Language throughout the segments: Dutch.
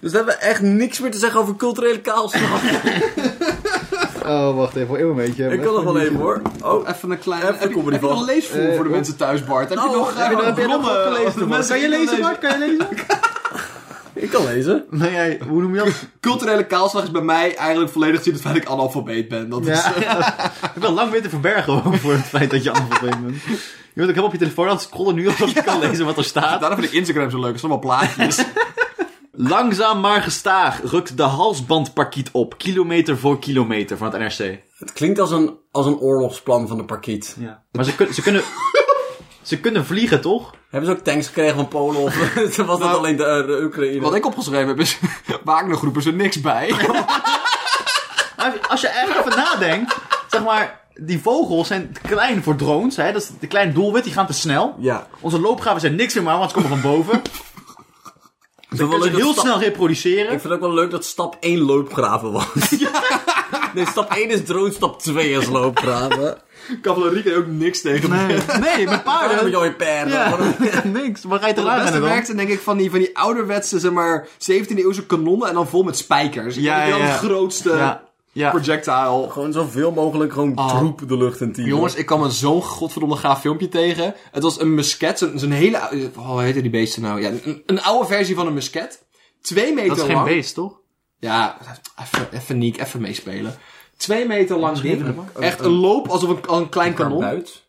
Dus daar hebben we echt niks meer te zeggen over culturele kaalslag. Oh, wacht even, voor een momentje. ik kan nog wel even hoor. Oh, Even een kleine... Even heb, je, comedy heb je nog vast. leesvoer voor de mensen thuis, Bart? Heb je oh, nog heb je eh, nou- nog- heb je nog bronnen wat gelezen, over de man? mensen Kan je die dat lezen, Bart? Kan je lezen? ik kan lezen. Nee, jij- hoe noem je dat? Culturele kaalslag is bij mij eigenlijk volledig gezien het feit dat ik analfabeet ben. Dat is... Ja. ik ben lang weer te verbergen hoor, voor het feit dat je analfabeet bent. Je bent ook helemaal op je telefoon aan het scrollen nu, omdat je kan lezen wat er staat. Daarom vind ik Instagram zo leuk. Het zijn allemaal plaatjes. Langzaam maar gestaag rukt de halsbandparkiet op, kilometer voor kilometer, van het NRC. Het klinkt als een, als een oorlogsplan van de parkiet. Ja. Maar ze, kun- ze kunnen... Ze kunnen vliegen, toch? Hebben ze ook tanks gekregen van Polen of was Nou, dat alleen de, eh, de Oekraïne? Wat ik opgeschreven heb is... Wagnergroep is er niks bij. Maar Nou, Als je echt even nadenkt, zeg maar... Die vogels zijn te klein voor drones, hè? Dat is de kleine doelwit, die gaan te snel. Ja. Onze loopgaven zijn niks meer, maar, want ze komen van boven. Ze wel kunnen ze leuk dat heel sta- snel Ik reproduceren. vind het ook wel leuk dat stap 1 loopgraven was. Nee, stap 1 is drone, stap 2 is loopgraven. Cavalerie kan je ook niks tegen. Nee, nee met Daar heb paarden. je al je perden. Ja, niks. Maar rijdt er Het raar beste aan werkt zijn denk ik van die, van die ouderwetse, zeg maar, 17e eeuwse kanonnen en dan vol met spijkers. Ik Ja, denk dat ja, ik ja. dan het grootste Ja. Ja. projectile. Gewoon zoveel mogelijk gewoon Ah. troep de lucht in tieren. Jongens, ik kwam een zo'n godverdomme gaaf filmpje tegen. Het was een musket, zo'n zo'n hele oude... Oh, hoe heette die beesten nou? Ja, een, een oude versie van een musket. Twee meter Dat is geen lang. beest, toch? Ja, even, even Niek, even meespelen. Twee meter lang ding. Oh, Echt een loop alsof een, als een klein kanon. Buit.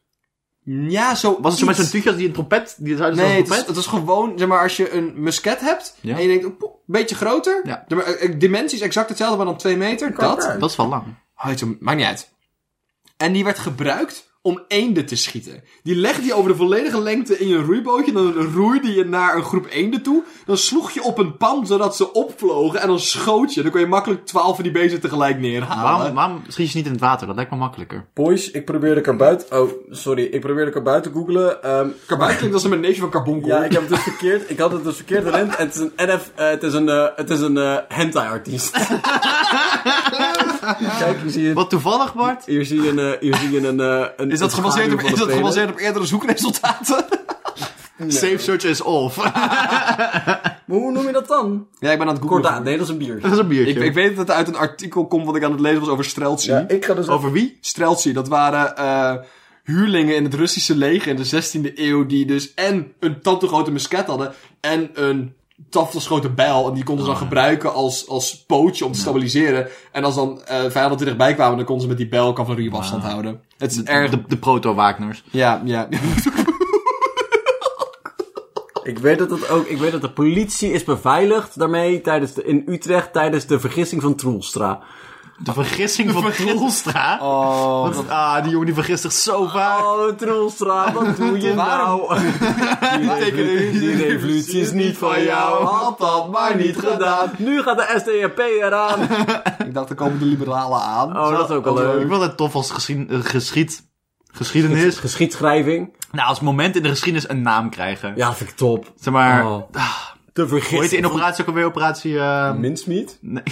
Ja, zo Was het zo met iets. zo'n tuutje als die een trompet? Die het Nee, een het is, trompet? het is gewoon, zeg maar, als je een musket hebt Ja. en je denkt, poeh, een beetje groter. Ja. Zeg maar, eh, Dimensies exact hetzelfde, maar dan 2 meter. Dat. uit. Dat is wel lang. Oh, het is- maakt niet uit. En die werd gebruikt om eenden te schieten. Die legde je over de volledige lengte in je roeibootje. Dan roeide je naar een groep eenden toe. Dan sloeg je op een pan zodat ze opvlogen. En dan schoot je. Dan kon je makkelijk 12 van die beesten tegelijk neerhalen. Waarom, waarom schiet je ze niet in het water? Dat lijkt me makkelijker. Boys, ik probeerde karbuit... Oh, sorry. Ik probeerde karbuit te googlen. ehm, Karbuit klinkt als een neefje van Carbonkel. ja, ik heb het dus verkeerd. Ik had het dus verkeerd erin. En het is een NF... eh, het is een, eh, het is een eh, hentai-artiest. Kijk, hier zie je... Wat toevallig, Bart? Hier zie je een... eh, Hier zie je een, eh, een Is dat, een gebaseerd schaduw op, van is de dat penis. gebaseerd op eerdere zoekresultaten? Safe search is off. Maar hoe noem je dat dan? Ja, ik ben aan het googlen. Korta. Nee, dat is een bier. dat is een biertje. Ik, ik weet dat het uit een artikel komt wat ik aan het lezen was over Streltsy. ik ga dus Over wie? Streltsy, dat waren eh, huurlingen in het Russische leger in de 16e eeuw die dus en een tand te grote musket hadden en een tand te grote bijl. En die konden ze dan gebruiken als, als pootje om te stabiliseren. En als dan eh, vijanden te dichtbij kwamen, dan konden ze met die bijl cavalerie op afstand houden. Het is erg... De, de proto-Wagners. Ja, ja. Ik weet dat het ook. Ik weet dat de politie is beveiligd daarmee tijdens de, in Utrecht tijdens de vergissing van Troelstra. De vergissing van Troelstra. Oh, Wat- ah, die jongen die vergist zich zo vaak. Oh, Troelstra, wat doe je nou? Die revolutie, die revolutie is niet van jou. Had dat maar niet gedaan. Nu gaat de SDAP eraan. ik dacht, er komen de liberalen aan. Oh, dat is ook wel Ik leuk. vond het tof als geschiedenis. geschied, geschiedenis. Geschiedschrijving. Nou, als moment in de geschiedenis een naam krijgen. Ja, dat vind ik top. Zeg maar, Oh. ah, De hoe heet die vergissing. in operatie ook alweer? Operatie, eh, Mincemeat? nee.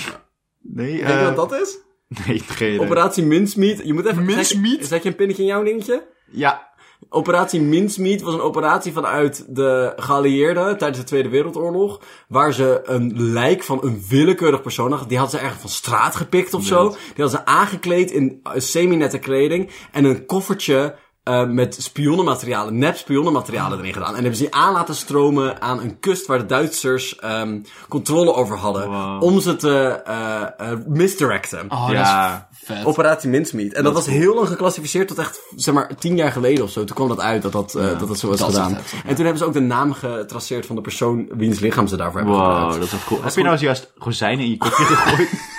Nee, Weet je eh, wat dat is? Nee, geen idee. Operatie Mincemeat. Je moet even... Mincemeat? Zet, zet je een pinnetje in jouw dingetje? Ja, Operatie Mincemeat was een operatie vanuit de geallieerden tijdens de Tweede Wereldoorlog. Waar ze een lijk van een willekeurig persoon hadden. Die hadden ze ergens van straat gepikt of zo. Die hadden ze aangekleed in eh, semi-nette kleding. En een koffertje eh, met spionnenmaterialen, nep spionnenmaterialen erin gedaan. En hebben ze die aan laten stromen aan een kust waar de Duitsers ehm, controle over hadden. Wow. Om ze te eh, eh, misdirecten. Oh, Ja. dat is vet. Operatie Mincemeat. En dat, was heel lang geclassificeerd tot echt, zeg maar, tien jaar geleden of zo. Toen kwam dat uit dat dat, eh, dat, dat zo was dat is gedaan. het, en toen hebben ze ook de naam getraceerd van de persoon wiens lichaam ze daarvoor hebben Wow, gebruikt. dat is wel cool. Heb je nou eens juist rozijnen in je kopje gegooid?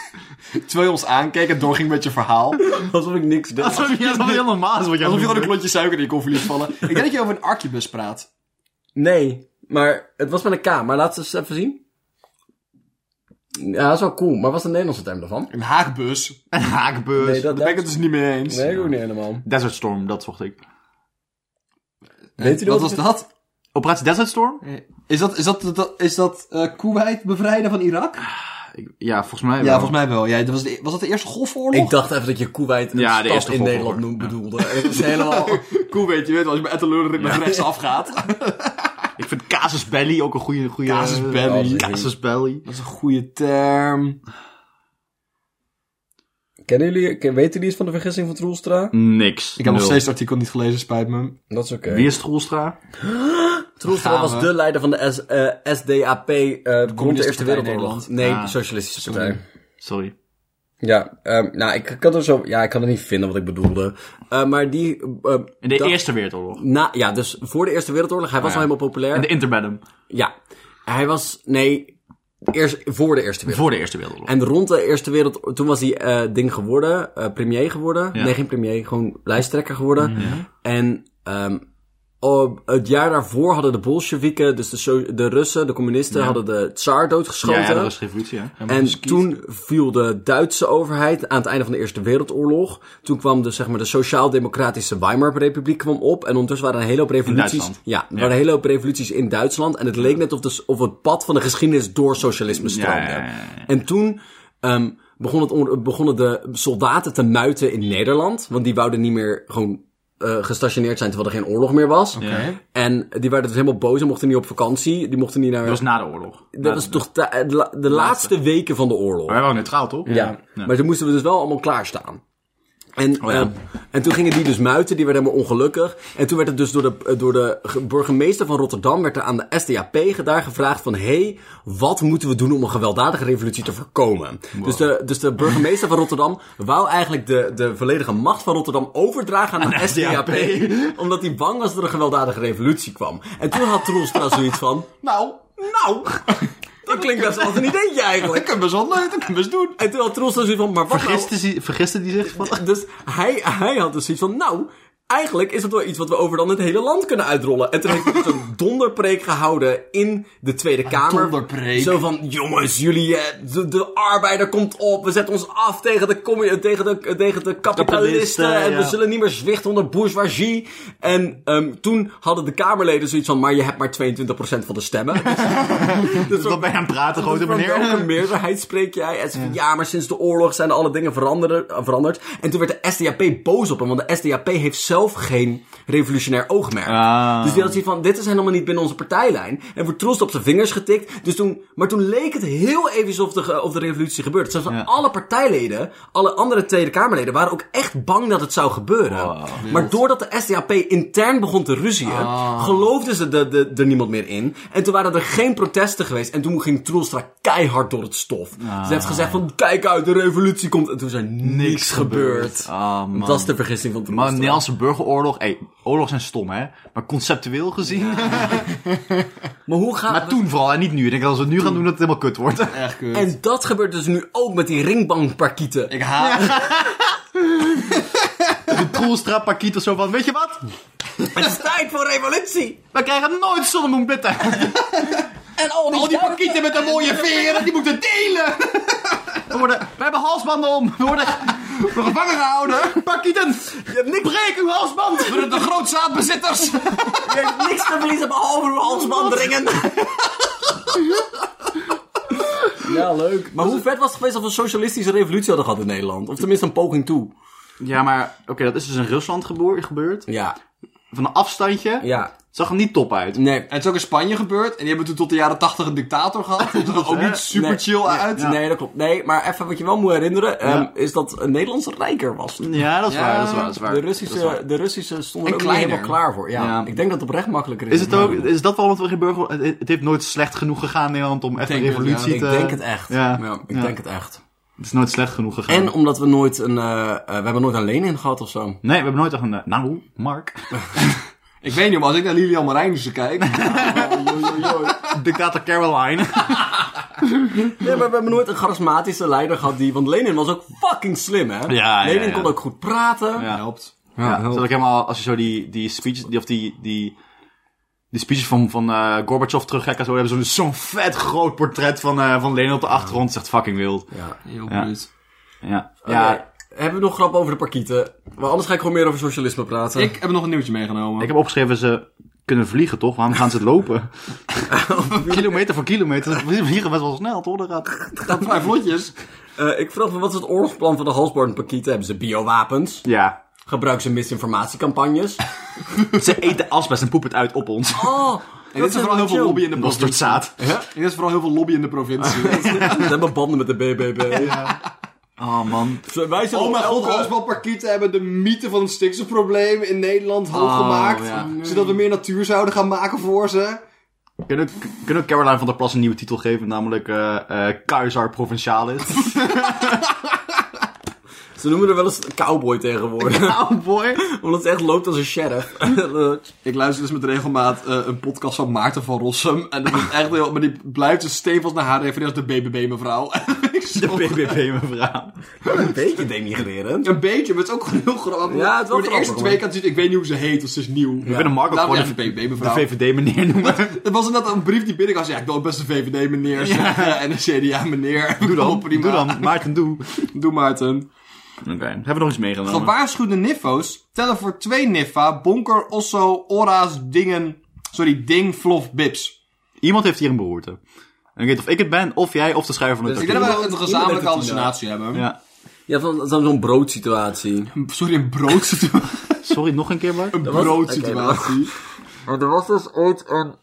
Terwijl je ons aankeek en doorging met je verhaal. Alsof ik niks deed. Alsof je dat heel normaal is wat je aan Alsof het je gewoon doen een klontje suiker in je koffie liet vallen. Ik denk dat je over een arquebus praat. Nee, maar het was met een K. Maar laat ze eens even zien. Ja, dat is wel cool. Maar wat is de Nederlandse term daarvan? Een haagbus. bent. Een haakbeurs. Nee, dat- Daar ben ik het dus niet mee eens. Nee, ik ook niet helemaal. Desert Storm, dat zocht ik. Weet u Wat dat? was dat? Operatie Desert Storm? Is dat, is dat, dat- is dat eh, Koeweit bevrijden van Irak? Ik- ja, volgens mij Ja, volgens mij wel. Ja, dat was, de, was dat de eerste golfoorlog? Ik dacht even dat je Koeweit een Ja, de stad eerste in golf, Nederland hoor. noemde, bedoelde. Het is helemaal... Koeweit, je weet wel, als je bij Etteleur naar rechts afgaat. Ik vind K Casus Belli, ook een eh, goede... goede Casus belli. Casus Belli. Dat is een goede term. Kennen jullie, ken- weten jullie iets van de vergissing van Troelstra? Niks. Ik heb nog Nul. steeds het artikel niet gelezen, spijt me. Dat is oké. Wie is Troelstra? Troelstra Gaan was we. de leider van de S, eh, SDAP eh rond de Eerste Partij Wereldoorlog. Nederland. Nee, Ah. Socialistische Partij. Sorry. Ja, ehm, nou, ik kan er zo, ja, ik kan het niet vinden wat ik bedoelde. Eh, maar die, eh, In de dat- Eerste Wereldoorlog. na, ja, dus voor de Eerste Wereldoorlog, hij was ja. al helemaal populair. In de interbellum. Ja, hij was, nee, eerst, voor de Eerste Wereldoorlog. Voor de Eerste Wereldoorlog. En rond de Eerste Wereldoorlog, toen was hij eh, ding geworden, eh, premier geworden. Ja. Mhm. Nee, geen premier, gewoon lijsttrekker geworden. En ehm, op- het jaar daarvoor hadden de Bolsjewieken, dus de, so- de Russen, de communisten, hadden de tsaar doodgeschoten. Ja, ja, dat was revolutie, hè? En toen viel de Duitse overheid aan het einde van de Eerste Wereldoorlog. Toen kwam de, zeg maar, de Sociaal-Democratische Weimarrepubliek kwam op. En ondertussen waren er een hele hoop revoluties. Duitsland. ja, er waren een hele hoop revoluties in Duitsland. En het leek net of, de, of het pad van de geschiedenis door socialisme stroomde. Ja, ja, ja, ja. En toen ehm, begon het on- begonnen de soldaten te muiten in Nederland. Want die wouden niet meer gewoon eh, gestationeerd zijn terwijl er geen oorlog meer was. Ja. Oké. En die werden dus helemaal boos en mochten niet op vakantie. Die mochten niet naar... Dat was na de oorlog. Dat was toch de, de la- de Nou, laatste weken van de oorlog. Maar wij waren neutraal, toch? Ja. Maar toen moesten we dus wel allemaal klaarstaan. En, ja. ehm, en toen gingen die dus muiten, die werden helemaal ongelukkig. En toen werd het dus door de, eh, door de ge- burgemeester van Rotterdam, werd er aan de SDAP ge- daar gevraagd van, hé, hey, wat moeten we doen om een gewelddadige revolutie te voorkomen? Dus, de, dus de burgemeester van Rotterdam wou eigenlijk de, de volledige macht van Rotterdam overdragen aan de, SDAP. Omdat hij bang was dat er een gewelddadige revolutie kwam. En toen had Troelstra zoiets van, Nou, nou, dat klinkt best wel als een ideetje dat eigenlijk. kan best wel leuk, dat kan best doen. En toen had Troelstra zoiets van, maar wat nou- Vergiste, ze- vergiste die zich? Wat? Dus hij, hij had dus iets van, nou, eigenlijk is het wel iets wat we over dan het hele land kunnen uitrollen. En toen heeft hij dus een donderpreek gehouden in de Tweede Kamer. donderpreek? Zo van, jongens, jullie, eh, de, de arbeider komt op, we zetten ons af tegen de, commu- tegen de, tegen de kapitalisten. Kapitalisten, en we ja. zullen niet meer zwichten onder bourgeoisie. En ehm, toen hadden de Kamerleden zoiets van, maar je hebt maar 22% van de stemmen. Dus Dat is wel bij aan het praten, grote Van welke meneer. meerderheid spreek jij? En ze van, ja, maar sinds de oorlog zijn alle dingen veranderen- eh, veranderd. En toen werd de SDAP boos op hem, want de SDAP heeft zelf geen revolutionair oogmerk. Ah. Dus die had zoiets van, dit is helemaal niet binnen onze partijlijn. En wordt trost op zijn vingers getikt. Dus toen, maar toen leek het heel even alsof de, ge- of de revolutie gebeurde. Zelfs Ja. alle partijleden, alle andere Tweede Kamerleden, waren ook echt bang dat het zou gebeuren. Wow. Maar doordat de SDAP intern begon te ruzien, Ah. geloofden ze de, de, er niemand meer in. En toen waren er geen protesten geweest. En toen ging Troelstra keihard door het stof. Ah. Ze heeft gezegd van, kijk uit, de revolutie komt. En toen is er niks, gebeurd. Ah, man. Dat is de vergissing van Maar Troelstra. de Nederlandse burgeroorlog, hey, oorlog zijn stom hè, maar conceptueel gezien. Maar hoe gaat... Maar toen vooral en niet nu. Ik denk dat als we het nu gaan doen, dat het helemaal kut wordt. Echt kut. En dat gebeurt dus nu ook met die ringbankparkieten. Ik haat... De Troelstra pakiet of zo van, weet je wat? Het is tijd voor revolutie. We krijgen nooit zonnemoenblitten. En al die, Al die pakieten met een mooie veren, die moeten delen! We, worden, we hebben halsbanden om. We worden Gevangen gehouden! pakieten. Je hebt niks, Breek uw halsband. Door de grootzaadbezitters! je hebt niks te verliezen behalve uw halsbandringen. Ja, leuk. Maar hoe vet was het geweest als we een socialistische revolutie hadden gehad in Nederland? Of tenminste een poging toe. Ja, maar oké, dat is dus in Rusland geboor- gebeurd. Ja, Van een afstandje. ja. Zag er niet top uit. Nee. En het is ook in Spanje gebeurd. En die hebben toen tot de jaren 80 een dictator gehad. Dat zag er ook hè? niet super Nee. chill uit. Nee, dat klopt. Nee, maar even wat je wel moet herinneren, ehm, Ja. is dat Nederland rijker was. Ja, dat is Ja, waar, dat is waar, dat is waar. De Dat is waar. Russische, de Russische stonden En er ook niet kleiner. helemaal klaar voor. Ja. Ja. Ik denk dat het oprecht makkelijker is. Is, het dan ook, Nederland. is dat wel wat we geen burger... Het, het heeft nooit slecht genoeg gegaan in Nederland om echt Ik een denk het, ja. revolutie Ik te... denk het echt. Ja. Ja, ik Ja. denk het echt. Het is nooit slecht genoeg gegaan. En omdat we nooit een, eh, eh, we hebben nooit een Lenin gehad of zo. Nee, we hebben nooit echt een... eh, Nou, Mark. Ik weet niet, maar als ik naar Lilian Marijnissen kijk... Dictator Caroline. Nee, maar we hebben nooit een charismatische leider gehad die, want Lenin was ook fucking slim, hè? ja, Lenin ja. kon ook goed praten. Ja. Helpt. Ja, help. zodat ik helemaal, als je zo die, die speeches, die, of die, die, die speeches van, van eh Gorbachev terugkijkt en zo, hebben ze zo'n zo'n vet groot portret van, eh, van Lenin op de achtergrond. Het is echt fucking wild. Ja. Heel Ja. bruut. Ja. Ja. ja. Hebben we nog grap over de parkieten? Maar anders ga ik gewoon meer over socialisme praten. Ik heb nog een nieuwtje meegenomen. Ik heb opgeschreven, ze kunnen vliegen toch? Waarom gaan ze het lopen? kilometer voor kilometer. Ze vliegen best wel snel toch? Dat gaat... dat maar vlotjes. Eh, ik vroeg me, wat is het oorlogsplan van de halsbandparkieten? Hebben ze biowapens? Ja. gebruiken ze misinformatiecampagnes. Ze eten asbest en poepen het uit op ons. Oh, En dit is vooral heel veel lobby in de provincie. Mosterdzaad. Ja? En dit is vooral heel veel lobby in de provincie. Ze hebben banden met de BBB. Oh man. Zo, Wij zijn Oh mijn god, elke- asbouwparkieten hebben de mythe van het stikstofprobleem in Nederland hoog gemaakt. ja. Zodat we meer natuur zouden gaan maken voor ze. Kunnen we, kunnen we Caroline van der Plas een nieuwe titel geven? Namelijk eh eh Keizer Provincialis. Ze noemen er wel eens cowboy tegenwoordig. oh boy. Omdat ze echt loopt als een sheriff. Ik luister dus met regelmaat eh, een podcast van Maarten van Rossum. En dat is echt heel... Maar die blijft dus stevast naar haar refereren als de BBB-mevrouw. De BBB mevrouw. een beetje denigrerend. Een beetje, maar het is ook gewoon heel grappig. Ja, het is wel Voor de eerste grappig, twee keer zien, ik weet niet hoe ze heet, dus ze is nieuw. We kunnen Marco Daarom gewoon ja, de, de BBB de mevrouw. VVD meneer noemen. Er was inderdaad een brief die binnenkwam. Ja, ik doe best een VVD meneer zeggen. En een CDA meneer. Doe dan. Prima. Doe dan. Maarten, doe. Doe Maarten. Oké. Hebben we nog iets meegenomen? Gewaarschuwde niffo's tellen voor twee niffa, bonker, osso, ora's, dingen, sorry, ding, flof, bips. Iemand heeft hier een beroerte. En ik weet of ik het ben, of jij, of de schrijver van het Dus ik denk dat we een Iemand- gezamenlijke iemand heeft het hallucinatie hebben. Ja. Ja, van, van zo'n broodsituatie. Sorry, een broodsituatie. Sorry, nog een keer, Bart? een was- broodsituatie. Maar er was dus ooit een...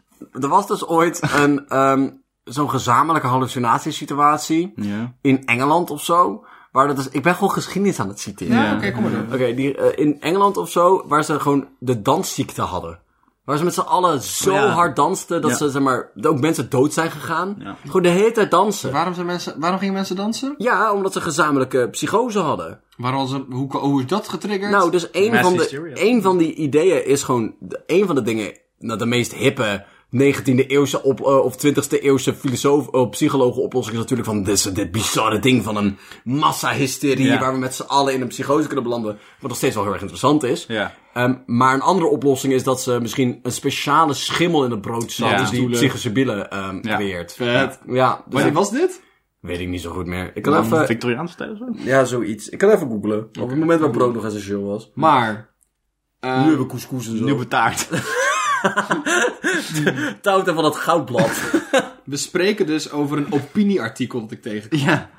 Er was dus ooit een... ehm, zo'n gezamenlijke hallucinatiesituatie. Ja. In Engeland of zo. Waar dat is... Ik ben gewoon geschiedenis aan het citeren. Ja, Ja. oké, kom maar door. Oké, die, eh, in Engeland of zo, waar ze gewoon de dansziekte hadden. Waar ze met z'n allen zo Ja. hard dansten dat Ja. ze, zeg maar, dat ook mensen dood zijn gegaan. Ja. Gewoon de hele tijd dansen. Waarom, zijn mensen, waarom gingen mensen dansen? Ja, omdat ze gezamenlijke psychose hadden. Waarom ze, hoe, hoe is dat getriggerd? Nou, dus een Mass van, de, hysteria. een van die ideeën is gewoon... de- Een van de dingen, nou, de meest hippe 19e eeuwse op, eh, of 20e eeuwse filosoof, eh, psychologen oplossing is natuurlijk van... Dit, dit bizarre ding van een massahysterie Ja. waar we met z'n allen in een psychose kunnen belanden. Wat nog steeds wel heel erg interessant is. Ja. Ehm, maar een andere oplossing is dat ze misschien een speciale schimmel in het brood zat. Ja. Dus die Stoelen. psychosebielen ehm Ja. creëert. Vet. Ja, dus Wanneer dat was dit? weet ik niet zo goed meer. Nou, Ik kan Een even... Victoriaanse tijd of eh, zo? Ja, zoiets. Ik kan even googlen. Op het moment waar brood nog essentieel was. Maar. eh, Nu hebben we couscous en zo. Nieuwe taart. touwt van dat goudblad. we spreken dus over een opinieartikel dat ik tegen. ja.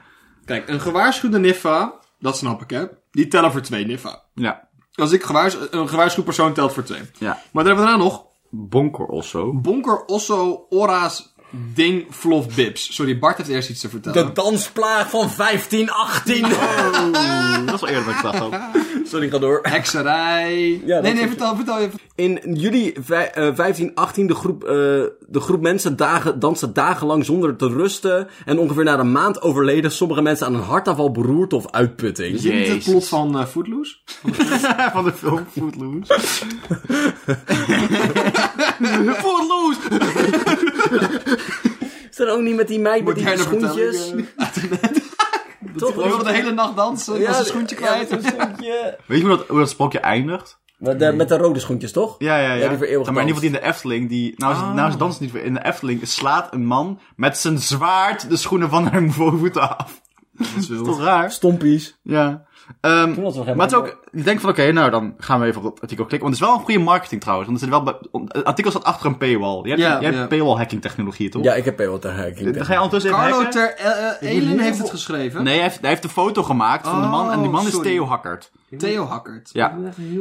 Kijk, een gewaarschuwde niffa, dat snap ik hè, die tellen voor twee niffa. Ja. Als ik gewaars, een gewaarschuwd persoon telt voor twee. Ja. Maar dan hebben we daarna nog Bonker of zo. Bonker, Osso, Ora's, Ding, Flof, Bips. Sorry, Bart heeft eerst iets te vertellen. De dansplaag van 1518. Dat is wel eerder dan ik dacht ook. Oh. Sorry, ga door. Hekserij. nee, is nee, het. vertel, vertel je. In juli vij- eh, 1518 de groep, eh, de groep mensen dagen, danste dagenlang zonder te rusten. En ongeveer na een maand overleden sommige mensen aan een hartaanval, beroerte of uitputting. Is dit niet het Jezus. plot van eh, Footloose? Van de film Footloose. Footloose! Is dat ook niet met die meid met die Moderne schoentjes? vertelling, Toch? Je wilde de hele nacht dansen. Ja, was een schoentje kwijt. Ja, met, zo'n schoentje. Weet je hoe dat, hoe dat sprookje eindigt? Met de, met de rode schoentjes, toch? Ja, ja, ja. Ja, die voor eeuwig maar in ieder geval die in de Efteling, die, nou is, nou is dans niet voor, in de Efteling slaat een man met zijn zwaard de schoenen van haar voorvoeten af. Dat is wild. Toch raar? Stompies. Ja. Ehm, Toen was er nog geen maar het is marketing. ook, ik denk van oké, nou dan gaan we even op dat artikel klikken. Want het is wel een goede marketing trouwens, want er zit wel bij, om- het artikel staat achter een paywall. Je hebt, Ja, je hebt ja. paywall hacking technologie toch? Ja, ik heb heel te hacking. Dan ga je ondertussen even Carlo hacken. Ter eh, eh, Elen heeft het geschreven. Nee, hij heeft, hij heeft de foto gemaakt van de man en die man Oh, sorry. is Theo Hackert. Theo Hackert. Ja.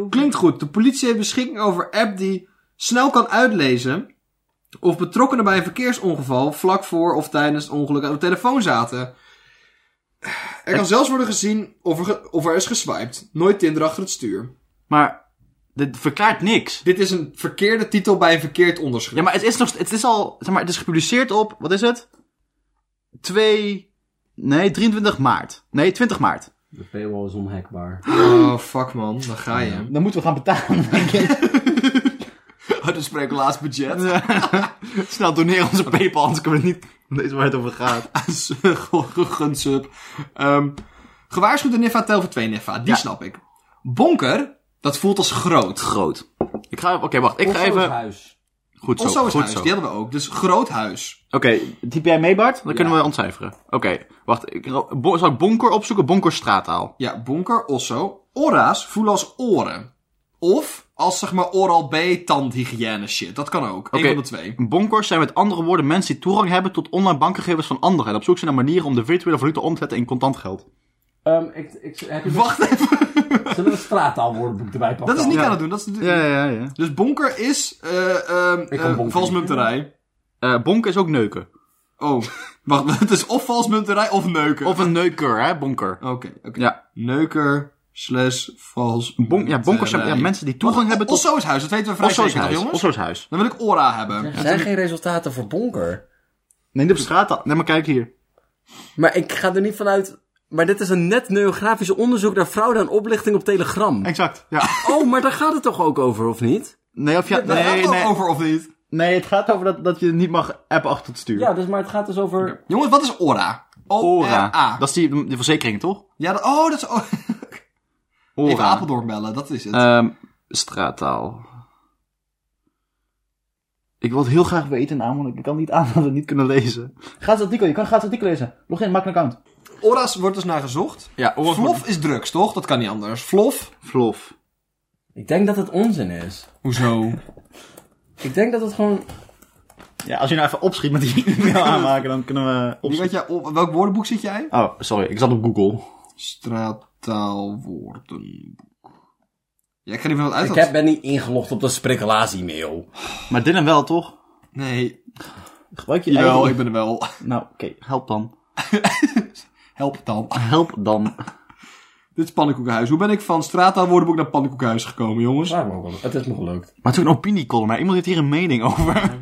Klinkt goed. De politie heeft beschikking over app die snel kan uitlezen of betrokkenen bij een verkeersongeval vlak voor of tijdens het ongeluk aan de telefoon zaten. Er kan zelfs worden gezien of er, ge- of er is geswiped. Nooit Tinder achter het stuur. Maar dit verklaart niks. Dit is een verkeerde titel bij een verkeerd onderschrift. Ja, maar het is nog, het is al, zeg maar, het is gepubliceerd op, wat is het? 2, nee, 23 maart. Nee, 20 maart. De paywall is onhackbaar. Oh, fuck man. Dan ga je. Dan moeten we gaan betalen. Oh, dus spreken we laatst budget. Snel doneren onze PayPal, anders kunnen we niet weten waar het over gaat. Gegund sub. Ehm, gewaarschuwde Niffa tel voor twee Niffa. Die Ja. snap ik. Bonker, dat voelt als groot. Groot. Ik ga, oké, wacht, ik ga even. huis. Goed zo, Ons zo is goed huis, zo. die Oké, hadden we ook. Dus groot huis. typ jij mee, Bart? Dan kunnen we ontcijferen. Oké, wacht, ik, bo- zal ik Bonker opzoeken? Bonker straattaal. Ja, bonker, osso. Ora's voelen als oren. Of als zeg maar oral B tandhygiëne shit. Dat kan ook. Eén Oké. van de twee. Bonkers zijn met andere woorden mensen die toegang hebben tot online bankgegevens van anderen en op zoek zijn naar manieren om de virtuele valuta om te zetten in contant geld. Ehm, ik, ik, heb je Wacht even. Zullen we een straattaalwoordenboek erbij pakken? Dat is niet Ja. aan het doen. Dat is Ja, ja, ja. Dus bonker is eh ehm kan eh, bonker valsmunterij. Eh bonken is ook neuken. Oh, wacht. Het is of valsmunterij of neuken. Of een neuker, hè, bonker. Oké, oké. Ja. Neuker slash vals. Bon, ja, bonkers zijn ja, mensen die toegang hebben tot... Osso's huis, dat weten we vrij Eh, Osso's zeker, toch, huis. jongens? Osso's huis. Dan wil ik Ora hebben. Er zijn geen resultaten voor Bonker. Nee, op straat. Nee, maar kijk hier. Maar ik ga er niet vanuit. Maar dit is een net neografisch onderzoek naar fraude en oplichting op Telegram. Exact, ja. Oh, maar daar gaat het toch ook over, of niet? Nee, of ja, Daar gaat nee, het nee, over of niet? nee, het gaat over dat, dat je niet mag appen achter het stuur. Ja, dus, maar het gaat dus over... Jongens, wat is Ora? Ora. O-R-A. Dat is die, die verzekering, toch? Ja, dat- oh, dat is... o- Ora. Even Apeldoorn bellen, dat is het. Ehm, straattaal. Ik wil het heel graag weten, namelijk. Ik kan niet aan dat we het niet kunnen lezen. Gratis artikel, je kan gratis artikel lezen. Log in, maak een account. Ora's wordt dus naar gezocht. Ja, Flof is drugs, toch? Dat kan niet anders. Flof? Flof. Ik denk dat het onzin is. Hoezo? Ik denk dat het gewoon... Ja, als je nou even opschiet met die e-mail aanmaken, dan kunnen we Wie weet opschieten. jij, op welk woordenboek zit jij? Oh, sorry, ik zat op Google. Straattaalwoordenboek. Ja, ik ga niet van wat uit. Ik dat- heb, ben niet ingelogd op dat sprikkelaas-e-mail. Maar Dylan wel, toch? Nee, Gebruik je jawel, eigen- ik ben er wel. Nou, oké, help dan. Help dan. Help dan. Dit is Pannenkoekenhuis. Hoe ben ik van straattaalwoordenboek naar Pannenkoekenhuis gekomen, jongens? Eh. Vraag me ook wel. Het is me gelukt. Maar toen een opiniecolumn, hè? iemand heeft hier een mening over.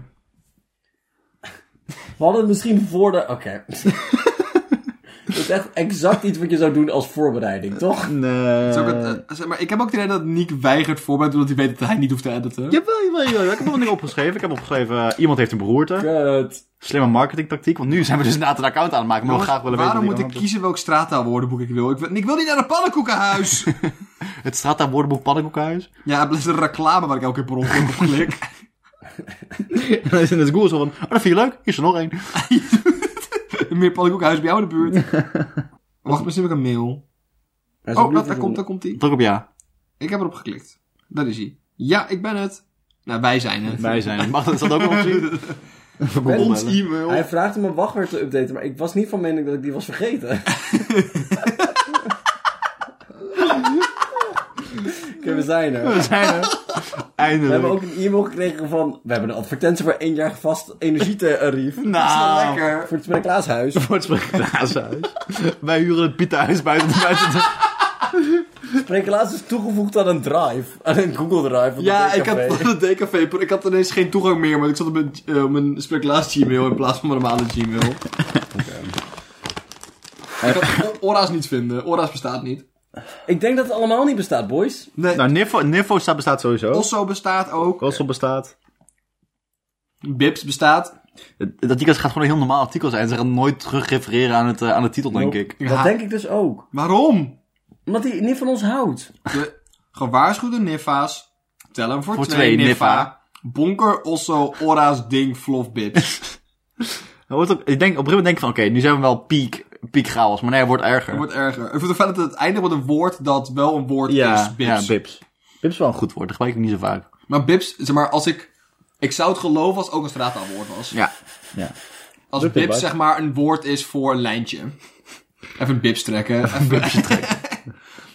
We hadden het misschien voor de... Oké. Het is echt exact iets wat je zou doen als voorbereiding, toch? Nee. Zou ik het, eh, zeg maar, ik heb ook het idee dat Nick weigert voorbereid omdat hij weet dat hij niet hoeft te editen. Jawel, jawel, jawel. Ik heb nog niet opgeschreven. Ik heb opgeschreven, eh, iemand heeft een beroerte. Kut. Slimme marketingtactiek, want nu zijn we dus inderdaad een account aan het maken. Maar we Jongens, graag willen weten waarom wat moet ik iemand kiezen welk straattaalwoordenboek ik wil? Ik, wil- ik wil niet naar het Pannenkoekenhuis! doet. Het staat daar woordenboek pannenkoekhuis. ja, dat is een reclame waar ik elke keer per ongeluk op klik. En dan is in het Google zo van, oh, dat vind je leuk, hier is er nog één. Meer pannenkoekenhuis bij jou in de buurt. Wacht, misschien heb ik een mail. Hij is Oh, opnieuw dat, te daar doen. komt, daar komt hij. Druk op ja. Ik heb erop geklikt. Daar is hij. Ja, ik ben het. Nou, wij zijn het. Wij zijn. Mag dat, is dat ook wel zien? Ons e-mail. Hij vraagt om een wachtwoord te updaten, maar ik was niet van mening dat ik die was vergeten. Oké, we zijn er. We zijn er. We hebben Eindelijk. ook een e-mail gekregen van... We hebben een advertentie voor één jaar vast energietarief. Ah, Nou, lekker. Voor het Spreeklaashuis. voor het Spreeklaashuis. Wij huren het Pietenhuis buiten, buiten de... Spreeklaas is toegevoegd aan een drive. Aan een Google Drive. van Ja, DKV. ik had van het DKV. per- Ik had ineens geen toegang meer, want ik zat op mijn, eh, op mijn spreeklaas Gmail in plaats van mijn normale Gmail. Ik kan O- Ora's niet vinden. Ora's bestaat niet. Ik denk dat het allemaal niet bestaat, boys. Nee, Nou, Niffo, Niffo staat, bestaat sowieso. Osso bestaat ook. Kossel bestaat. Bips bestaat. Dat artikel gaat gewoon een heel normaal artikel zijn. Ze gaan nooit terug refereren aan, het, eh, aan de titel, denk ik. Ja. Dat denk ik dus ook. Waarom? Omdat hij niet van ons houdt. De gewaarschuwde Niffa's tellen voor, Voor twee, twee Niffa. Niffa. Bonker, Osso, Ora's, Ding, Flof, Bips. Hij wordt ook, ik denk, op een gegeven moment denk ik van, oké, nu zijn we wel piek, piek chaos. Maar nee, hij wordt erger. Het wordt erger. Ik vind het fijn dat het eindigt met een woord dat wel een woord is, Bips. ja, bips. Bips is wel een goed woord, dat gebruik ik niet zo vaak. Maar Bips, zeg maar, als ik... Ik zou het geloven als het ook een straattaalwoord was. Ja. ja. Als Lukt het, Bips Bart? zeg maar een woord is voor een lijntje. Even een Bips trekken. Even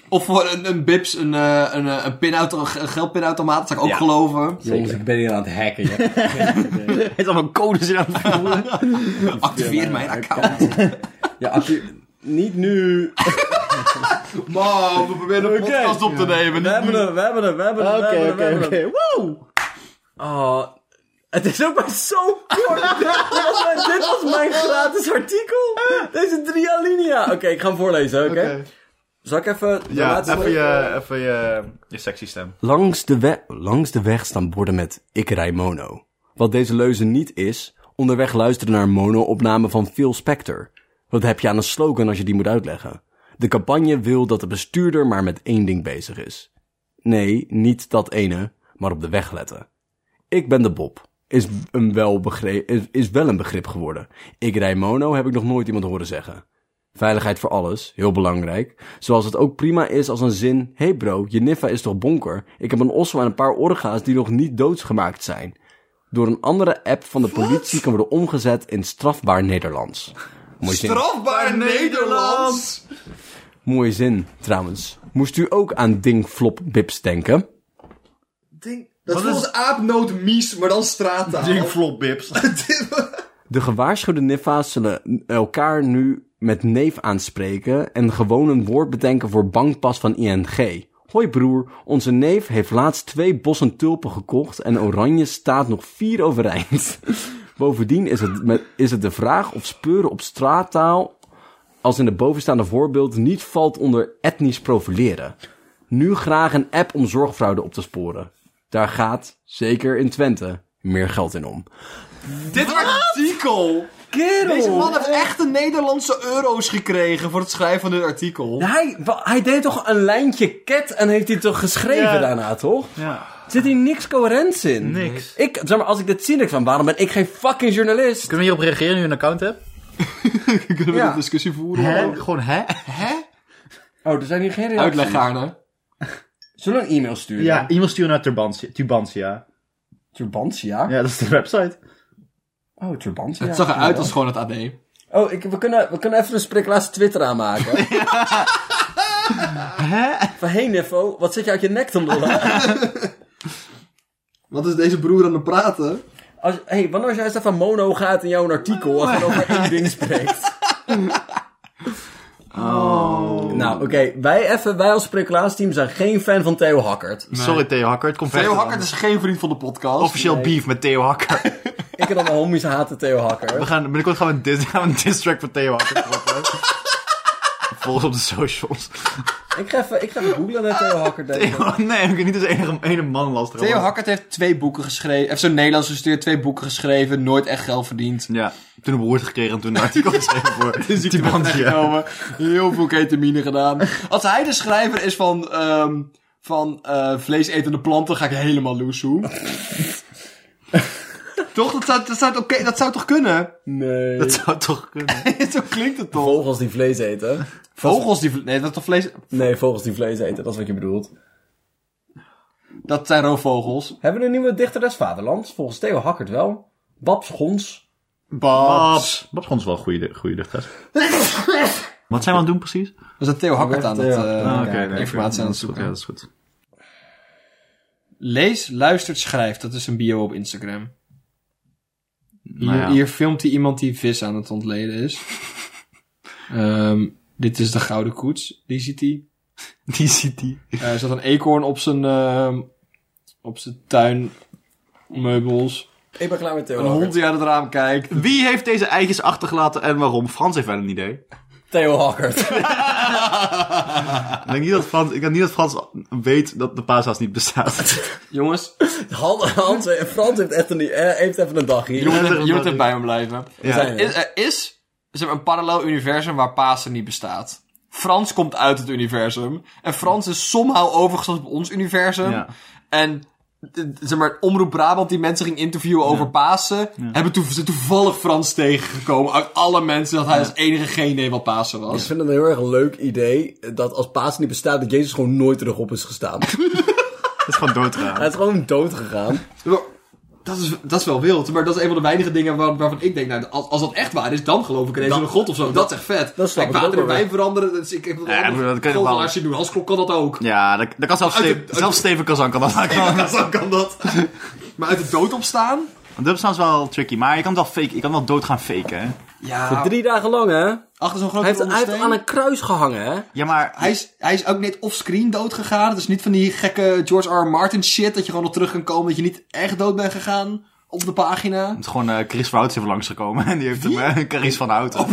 of voor een, een Bips, een, eh, een, eh, een, pinauto, een geldpinautomaat, dat zou ik ook geloven. Jongens, ik ben hier aan het hacken. je hebt geen idee. Hij is allemaal codes in aan het voeren. Activeer mijn account. Ja, als je... Niet nu. Wow, we proberen een Oké. podcast op te nemen. We hebben hem, we hebben hem, we hebben hem. we hebben Oké, hem, we oké, hebben hem. oké. Wow! Oh, het is ook maar zo kort. dit, was mijn, dit was mijn gratis artikel. Deze drie alinea. Oké, ik ga hem voorlezen, oké? Zal ik even de laatste... je, even je, je sexy stem. Langs de, we- langs de weg staan borden met Ik rij mono. Wat deze leuzen niet is, onderweg luisteren naar een mono-opname van Phil Spector. Wat heb je aan een slogan als je die moet uitleggen? De campagne wil dat de bestuurder maar met één ding bezig is. Nee, niet dat ene, maar op de weg letten. Ik ben de Bob. Is, een wel begre- is, is wel een begrip geworden. Ik rij mono heb ik nog nooit iemand horen zeggen. Veiligheid voor alles, heel belangrijk. Zoals het ook prima is als een zin... hey bro, je niffa is toch bonker? Ik heb een osso en een paar orga's die nog niet doodsgemaakt zijn. Door een andere app van de politie kan worden omgezet in strafbaar Nederlands. Mooi zin. Strafbaar Nederlands. Mooie zin, trouwens. Moest u ook aan Ding Flop Bips denken? Ding. Dat is Wat is- volgens aapnoot mies, maar dan straattaal. Ding flop bips. De gewaarschuwde niffa's zullen elkaar nu met neef aanspreken en gewoon een woord bedenken voor bankpas van ING. Hoi broer, onze neef heeft laatst twee bossen tulpen gekocht en oranje staat nog vier overeind. Bovendien is het, met, is het de vraag of speuren op straattaal, als in het bovenstaande voorbeeld, niet valt onder etnisch profileren. Nu graag een app om zorgfraude op te sporen. Daar gaat, zeker in Twente, meer geld in om. Dit artikel! Oh. Kerel! Deze man heeft echt de Nederlandse euro's gekregen voor het schrijven van dit artikel. Ja, Hij, wa- hij deed toch een lijntje cat en heeft hij toch geschreven Ja. daarna, toch? ja. Zit hier niks coherents in? Niks. Ik, zeg maar, als ik dit zie, denk ik van, waarom ben ik geen fucking journalist? Kunnen we hierop reageren nu je een account hebt? Kunnen we Ja. een discussie voeren? Hè? Gewoon hè? Hè? Oh, er zijn hier geen reacties. Uitleg gaarne. Zullen we een e-mail sturen? Ja, e-mail sturen naar Turbantia. Turbantia. Turbantia? Ja, dat is de website. Oh, Turbantia. Het zag eruit als gewoon het AD. Oh, ik, we, kunnen, we kunnen even een spriklaatse Twitter aanmaken. Van, hey Niffo, wat zit je uit je nek te lullen? Wat is deze broer aan het praten? Als, hey, wanneer jij van mono gaat in jouw artikel en gewoon over één ding spreekt. Oh. Nou, oké. Wij, even- wij als Sprinkelaarsteam zijn geen fan van Theo Hakkert. Sorry Theo Hakker, het komt Theo verder Hakkert dan. is geen vriend van de podcast. Officieel beef met Theo Hakker. Ik en al mijn homies haten Theo We Hakkert. gaan, binnenkort gaan we een dis, gaan we een diss track van Theo Hakker droppen. Volg ons op de socials. Ik ga even, ik ga even googlen naar Theo Hakkert. denk ik. Theo, nee, ik kan niet eens enige ene man lastig. Theo Hakkert heeft twee boeken geschreven. Heeft zo'n Nederlands gestudeerd, twee boeken geschreven, nooit echt geld verdiend. Ja, toen een beroerte gekregen en toen een artikel geschreven voor Tibantia. genomen. Heel veel ketamine gedaan. Als hij de schrijver is van, ehm van eh vleesetende planten, ga ik helemaal loesoe. toch? Dat zou, dat, zou, het oké- dat zou toch kunnen? Nee. Dat zou toch kunnen. Zo klinkt het toch? Vogels die vlees eten. Vogels die... vle- Nee, dat is toch vlees... Nee, vogels die vlees eten. Dat is wat je bedoelt. Dat zijn roofvogels. Hebben we een nieuwe dichter des vaderlands? Volgens Theo Hakkert wel. Babs Gons. Babs. Babs Gons is wel een goede, goede dichter. Wat zijn we aan het doen precies? Dat is dat Theo Hakkert aan het... Theo eh, Ah, informatie dat aan is goed. het Ja, zoeken. dat is goed. Lees, luistert, schrijft. Dat is een bio op Instagram. Hier, Nou ja. hier filmt hij iemand die vis aan het ontleden is. Ehm, dit is de gouden koets. Die ziet hij. Die ziet die. Eh, er zat een eekhoorn op zijn, ehm, op zijn tuinmeubels. Ik ben klaar met Theo Een hond Hakkert. die uit het raam kijkt. Wie heeft deze eitjes achtergelaten en waarom? Frans heeft wel een idee. Theo Hakkert. Ik denk niet dat Frans, ik denk niet dat Frans weet dat de paashaas niet bestaat. Jongens, Hans, Hans, Frans heeft, echt een, eh, heeft even een dag hier. je moet, Ja, er- je moet dat- er bij me blijven. Ja. zijn Is, er is zeg maar, een parallel universum waar Pasen niet bestaat. Frans komt uit het universum. En Frans is somehow overgestapt op ons universum. Ja. En eh, zeg maar, Omroep Brabant die mensen ging interviewen over Pasen... hebben toen, zijn toevallig Frans tegengekomen uit alle mensen... dat hij als enige geen idee wat Pasen was. Ik vind het een heel erg leuk idee eh, dat als Paas niet bestaat, dat Jezus gewoon nooit terug op is gestaan. Dat is gewoon doodgaan. Hij is gewoon dood gegaan. Maar Dat is, dat is wel wild, maar dat is een van de weinige dingen waar- waarvan ik denk, nou, als, als dat echt waar is, dan geloof ik ineens in een god of zo. Dat, is echt vet. dat snap ik Kijk, ook water en wel wijn veranderen, dus ik heb dat Ja, maar dat kan je wel. als je doen. Hans Klok kan dat ook. Ja, dat, dat kan zelfs, Uit de- Steven, zelfs Steven Kazan kan dat maken. Dan kan dat. maar uit de dood opstaan? Want dubstaan is wel tricky, maar je kan het wel fake, je kan wel dood gaan faken. Hè? Ja. Drie dagen lang, hè? Achter zo'n grote Hij heeft, ronde hij heeft steen. aan een kruis gehangen, hè? Ja, maar Hij is, hij is ook net offscreen dood gegaan. Dus niet van die gekke George R. R. Martin shit, dat je gewoon nog terug kan komen, dat je niet echt dood bent gegaan op de pagina. het is gewoon eh, Chris Verhout is even langsgekomen en die heeft hem eh, Caries van Houten. Oh,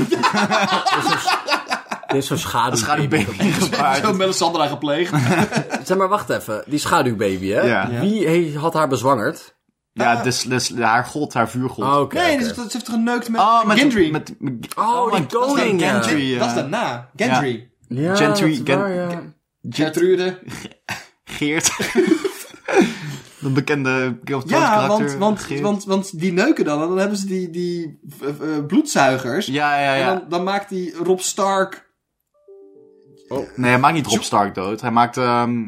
Dit is zo'n schaduw. Ga die baby Zo gepaard. Melisandre gepleegd. Zeg maar, wacht even. Die schaduwbaby, hè? Ja. Ja. Wie he- had haar bezwangerd? Ja, dus, dus haar god, haar vuurgod. Oh, oké. Nee, oké. dus dat ze heeft geneukt met Oh, met, Gendry. met, met- Oh, die my- dat is koning, geen ja. Gendry, Dat is eh, daarna. Gendry. Ja, Gentry- dat is waar, Gen- ja. Gertrude. Geert. Dat bekende Game of Thrones Ja, karakter. want, want, Geert. want, want die neuken dan. En dan hebben ze die, die eh, eh, bloedzuigers. Ja, ja, ja. En dan, dan maakt die Rob Stark... Nee, hij maakt niet Rob Stark dood. Hij maakt... ehm,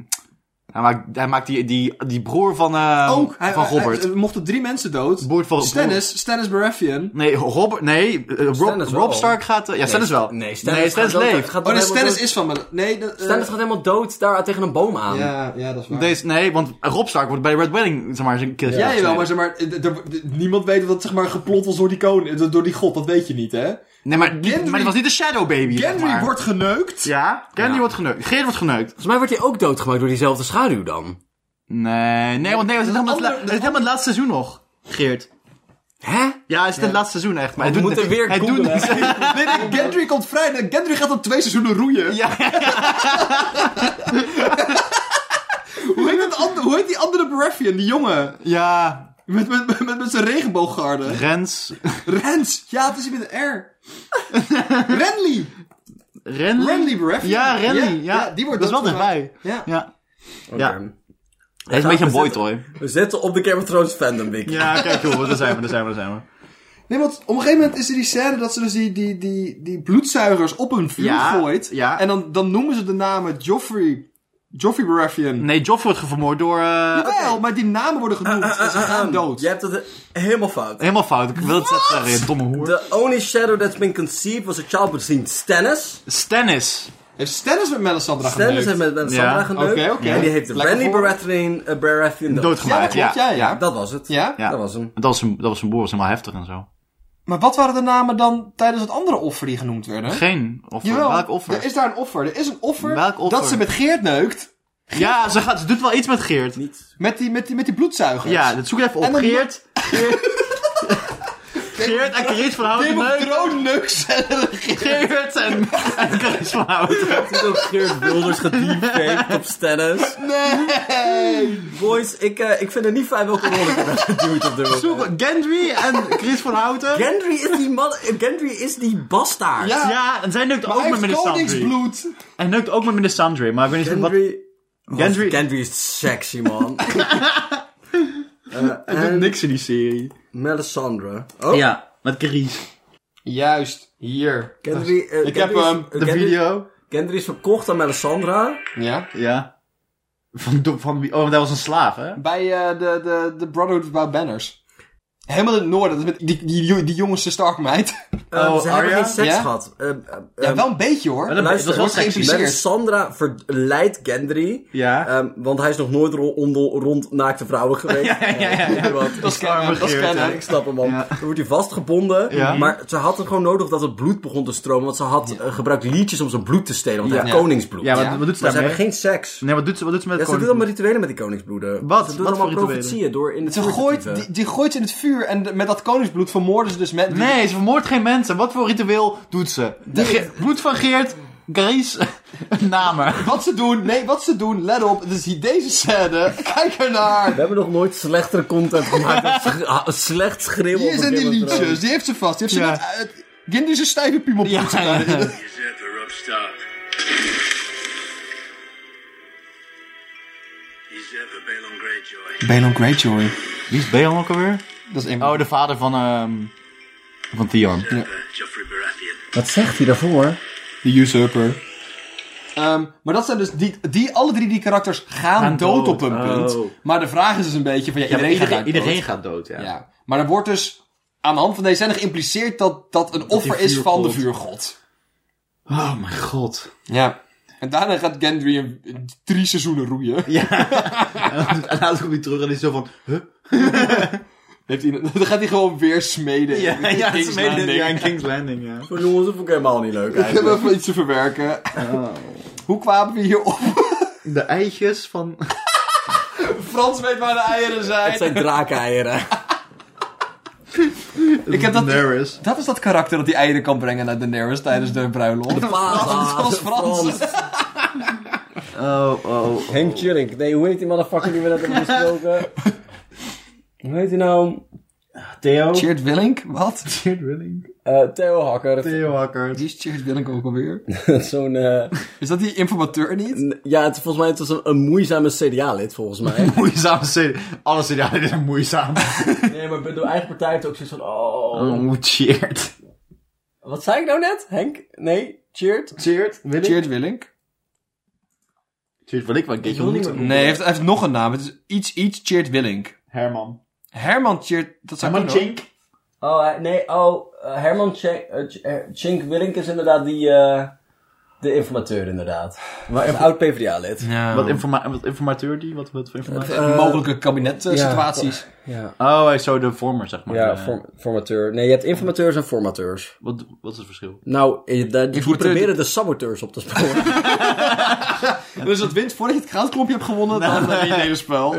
Hij maakt, hij maakt die, die, die broer van, eh Ook, hij, van Robert. hij- er mochten drie mensen dood. Broer van- Stannis, Stannis Baratheon. nee, Robert, nee, eh, Rob, Stannis wel. Rob Stark gaat, eh, ja, Stannis wel. Nee, Stannis, nee, Stannis gaat dood- leeft. gaat Oh, nee, helemaal Stannis dood- is van... mijn- Nee, dat, eh, Stannis gaat helemaal dood daar tegen een boom aan. Ja, ja, dat is waar. Deze, nee, want Rob Stark wordt bij Red Wedding, zeg maar, zijn killtje. Ja, jawel, maar, zeg maar eh, d- d- d- niemand weet dat het zeg maar, geplot was door die koning, eh, door die god, dat weet je niet, hè? Nee, maar, die- Gendry- maar het was niet de Shadow Baby. zeg Gendry maar. wordt geneukt. Ja, Gendry Ja. wordt geneukt. Geert wordt geneukt. Volgens mij wordt hij ook doodgemaakt door diezelfde schaduw dan. Nee, nee, want nee, het is helemaal, het la- ander- het is helemaal het laatste seizoen nog. Geert. Hè? Ja, het is het laatste seizoen echt. Maar We hij doet moeten weer hij doet- googlen. Nee, nee, Gendry komt vrij. Nee, Gendry gaat dan twee seizoenen roeien. Ja, Hoe, heet dat ander- hoe heet die andere Baratheon, die jongen? ja, Met, met, met, met, met zijn regenbooggarde. Rens. Rens. Ja, het is met een R. Renly. Renly? Renly Baratheon. Ja, Renly. Ja, die wordt Dat is wel doodgemaakt. dichtbij. Ja. Ja. Oké. Hij is een beetje een boy toy. We zetten op de Game of Thrones fandom wiki. Ja, kijk joh, daar zijn we, daar zijn we, daar zijn we. Nee, want op een gegeven moment is er die scène dat ze dus die, die, die, die bloedzuigers op hun vuur Ja, gooit. ja. En dan, dan noemen ze de namen Joffrey, Joffrey Baratheon. Nee, Joff wordt vermoord door... eh, Jawel, maar die namen worden genoemd Ah, en ze gaan dood. Je hebt het eh, helemaal fout. Helemaal fout, ik wil het zelf zeggen, je domme hoer. The only shadow that's been conceived was a child between Stannis. Stannis. Heeft Stannis met Melisandre Stannis geneukt? heeft met met Sandra Ja. geneukt. Oké, oké. En die heeft Lekker Renly voor. Baratheon, eh, Baratheon dood. Ja, dat Doodgemaakt, klopt, ja, ja. Dat was het. Ja? Ja. Dat was hem. Dat was zijn, dat was zijn broer, was helemaal heftig en zo. Maar wat waren de namen dan tijdens het andere offer die genoemd werden? Geen offer. Welk offer? Er is daar een offer. Er is een offer, Welk offer? dat ze met Geert neukt. Ja, ze, gaat, ze doet wel iets met Geert. Niet. Met die, met die, met die bloedzuigers. Ja, dat zoek ik even op. En dan- Geert. Geert. Geert en Carice van Houten. Game of leuk. Thrones neukt. Geert en, en Carice van Houten. Het is ook Geert Wilders gediepfaked op Stannis. Nee! Boys, ik, eh, ik vind het niet fijn welke rol ik heb geduwd op dit moment. Gendry en Chris van Houten. Gendry is die man... eh, Gendry is die bastaard. Ja, Ja, en zij neukt ook hij met heeft meneer Sandry. koningsbloed. Hij neukt ook met meneer Sandry, maar ik weet niet wat... Gendry... Gendry- Gendry is sexy, man. Eh, Hij doet niks in die serie. Melisandre. Oh, Ja, met Carice. Juist, hier. Gendry... eh, Ik Gendry heb is- hem, eh, ehm, De Gendry- video. Gendry is verkocht aan Melisandre. Ja. Ja. Van, do- van wie? Oh, want hij was een slaaf, hè? Bij eh, de, de, de Brotherhood Without Banners. Helemaal in het noorden. Dat is met die, die, die jongenste Starkmeid. Eh, Oh, ze hebben Arya? geen seks Ja? gehad. Eh, eh, Ja, ehm, wel een beetje hoor. Maar dat- luister, dat was wordt wel sexy. geïmpliceerd. Melisandre verleidt Gendry. Ja. ehm, want hij is nog nooit ro- onder- rond naakte vrouwen geweest. Eh, ja, ja, ja, ja. Wat- Dat is Arme kennen, dat is Geert, kennen. hè. Ik snap hem, man. Ja. Dan wordt hij vastgebonden. Ja. Maar ze had hem gewoon nodig dat het bloed begon te stromen. Want ze had eh, gebruikt liedjes om zijn bloed te stelen. Want hij Ja. heeft koningsbloed. Ja, wat, Ja. wat doet ze maar ze daarmee? hebben geen seks. Nee, wat doet ze, wat doet ze met Ja, ze koning- doen allemaal rituelen met die koningsbloeden. Wat? Ze doen Wat allemaal voor rituelen? profetieën door in de Ze gooit, vuurtieven. die, die gooit ze in het vuur en de- met dat koningsbloed vermoorden ze dus mensen. eh. Nee, ze vermoordt geen mensen. Wat voor ritueel doet ze? Ge- bloed van Geert, Grace, namen. Wat ze doen, nee, wat ze doen, let op, het is hier deze scène. Kijk ernaar. We hebben nog nooit slechtere content gemaakt. dan sch- ah, slecht schreeuwen. Hier over zijn die Game of liedjes, Thrones. die heeft ze vast. Die heeft ze Ja. net uit. Ginder is een stijve piemel. Ja, ja, ja. Is it the Rob Stark? Is that the Balon Greyjoy? Balon Greyjoy. Wie is Balon ook alweer? Dat is een Oh, de vader van, ehm van Theon. Is that the Joffrey Baratheon? Wat zegt hij daarvoor? de usurper. Ehm, maar dat zijn dus, die, die, alle drie die karakters gaan, Gaan dood, dood. op een Oh. punt. Maar de vraag is dus een beetje van, ja, iedereen, gaat dood. gaat dood, ja. Ja. Maar er wordt dus aan de hand van deze scène geïmpliceerd dat dat een offer is van de vuurgod. Oh mijn god. Ja. En daarna gaat Gendry een- een drie seizoenen roeien. en dan komt hij terug en is zo van... Huh? Heeft hij, dan gaat hij gewoon weer smeden. in Ja, de ja, King's ze meen dit, Landing. ja, in King's Landing, ja. Voor jongens, dat vond ik helemaal niet leuk Ik heb eigenlijk. even iets te verwerken. Oh. Hoe kwamen we hier op? De eitjes van... Frans weet waar de eieren zijn. Het zijn draakeieren. Ik heb dat- Daenerys. Dat is dat karakter dat die eieren kan brengen naar Daenerys tijdens de bruiloft. Paas, Dat was Frans. Oh, oh. Henk Jurink. Nee, hoe heet die motherfucker die we net hebben besproken? hoe heet hij nou? Theo. Cheert Willink? Wat? Cheered Willing. Eh, Theo Hakker. Theo Hakkard. Wie is Cheert Willink ook alweer? Zo'n... eh, Is dat die informateur niet? n- ja, het, volgens mij het was een, een moeizame CDA-lid, volgens mij. Moeizame serie. Alle serie is moeizaam. nee, maar de eigen partij heeft ook zoiets van... Oh. Oh, cheered. Wat zei ik nou net? Henk? Nee? Cheert? Cheered? Willing? Cheert Willink? Zoiets wil ik wel een keertje ontmoeten. Nee, hij heeft, hij heeft nog een naam. Het is iets, iets cheert Willink. Herman. Herman cheert... Dat zou Herman kunnen, hoor. Chink. Oh, hij- nee, oh, eh, Herman Chink, Chink Willink is inderdaad die, eh, de informateur inderdaad. Maar een oud PvdA-lid. Ja. Wat, informa wat informateur die? Wat, wat voor informatie? Eh, mogelijke kabinetsituaties. Ja, oh, hij is zo de vormer, zeg maar. ja Eh, form- formateur. Nee, je hebt informateurs en formateurs. wat, wat is het verschil? Nou, eh, de- die Informateur- proberen de saboteurs op te sporen. Dus dat wint voordat je het graanklompje hebt gewonnen, dan ben je het hele spel.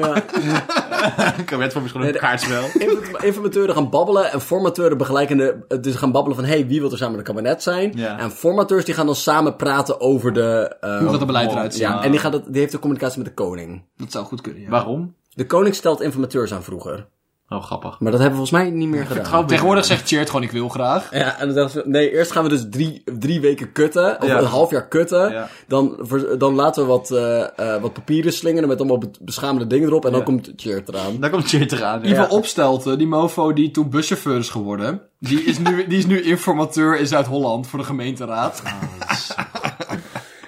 Kabinet voor misschien Nee, een de- kaartspel. Inform- informateuren gaan babbelen en formateuren begelijkende, eh, dus gaan babbelen van hey, wie wil er samen in het kabinet zijn? Ja. En formateurs die gaan dan samen praten over de... eh, Hoe gaat het beleid eruit zien? ja, en die, gaat het, die heeft de communicatie met de koning. Dat zou goed kunnen, ja. Waarom? De koning stelt informateurs aan vroeger. Oh, grappig. Maar dat hebben we volgens mij niet meer gedaan. Tegenwoordig zegt Cheert gewoon, ik wil graag. Ja, en dan dachten ze, nee, eerst gaan we dus drie, drie weken kutten, of Ja. een half jaar kutten. Ja. Dan, ver- dan laten we wat, eh, eh, wat papieren slingeren met allemaal be- beschaamde dingen erop en dan Ja. komt Cheert eraan. Daar komt Cheert eraan. Ivo Opstelte, die mofo die toen buschauffeur is geworden, die is nu, die is nu informateur in Zuid-Holland voor de gemeenteraad.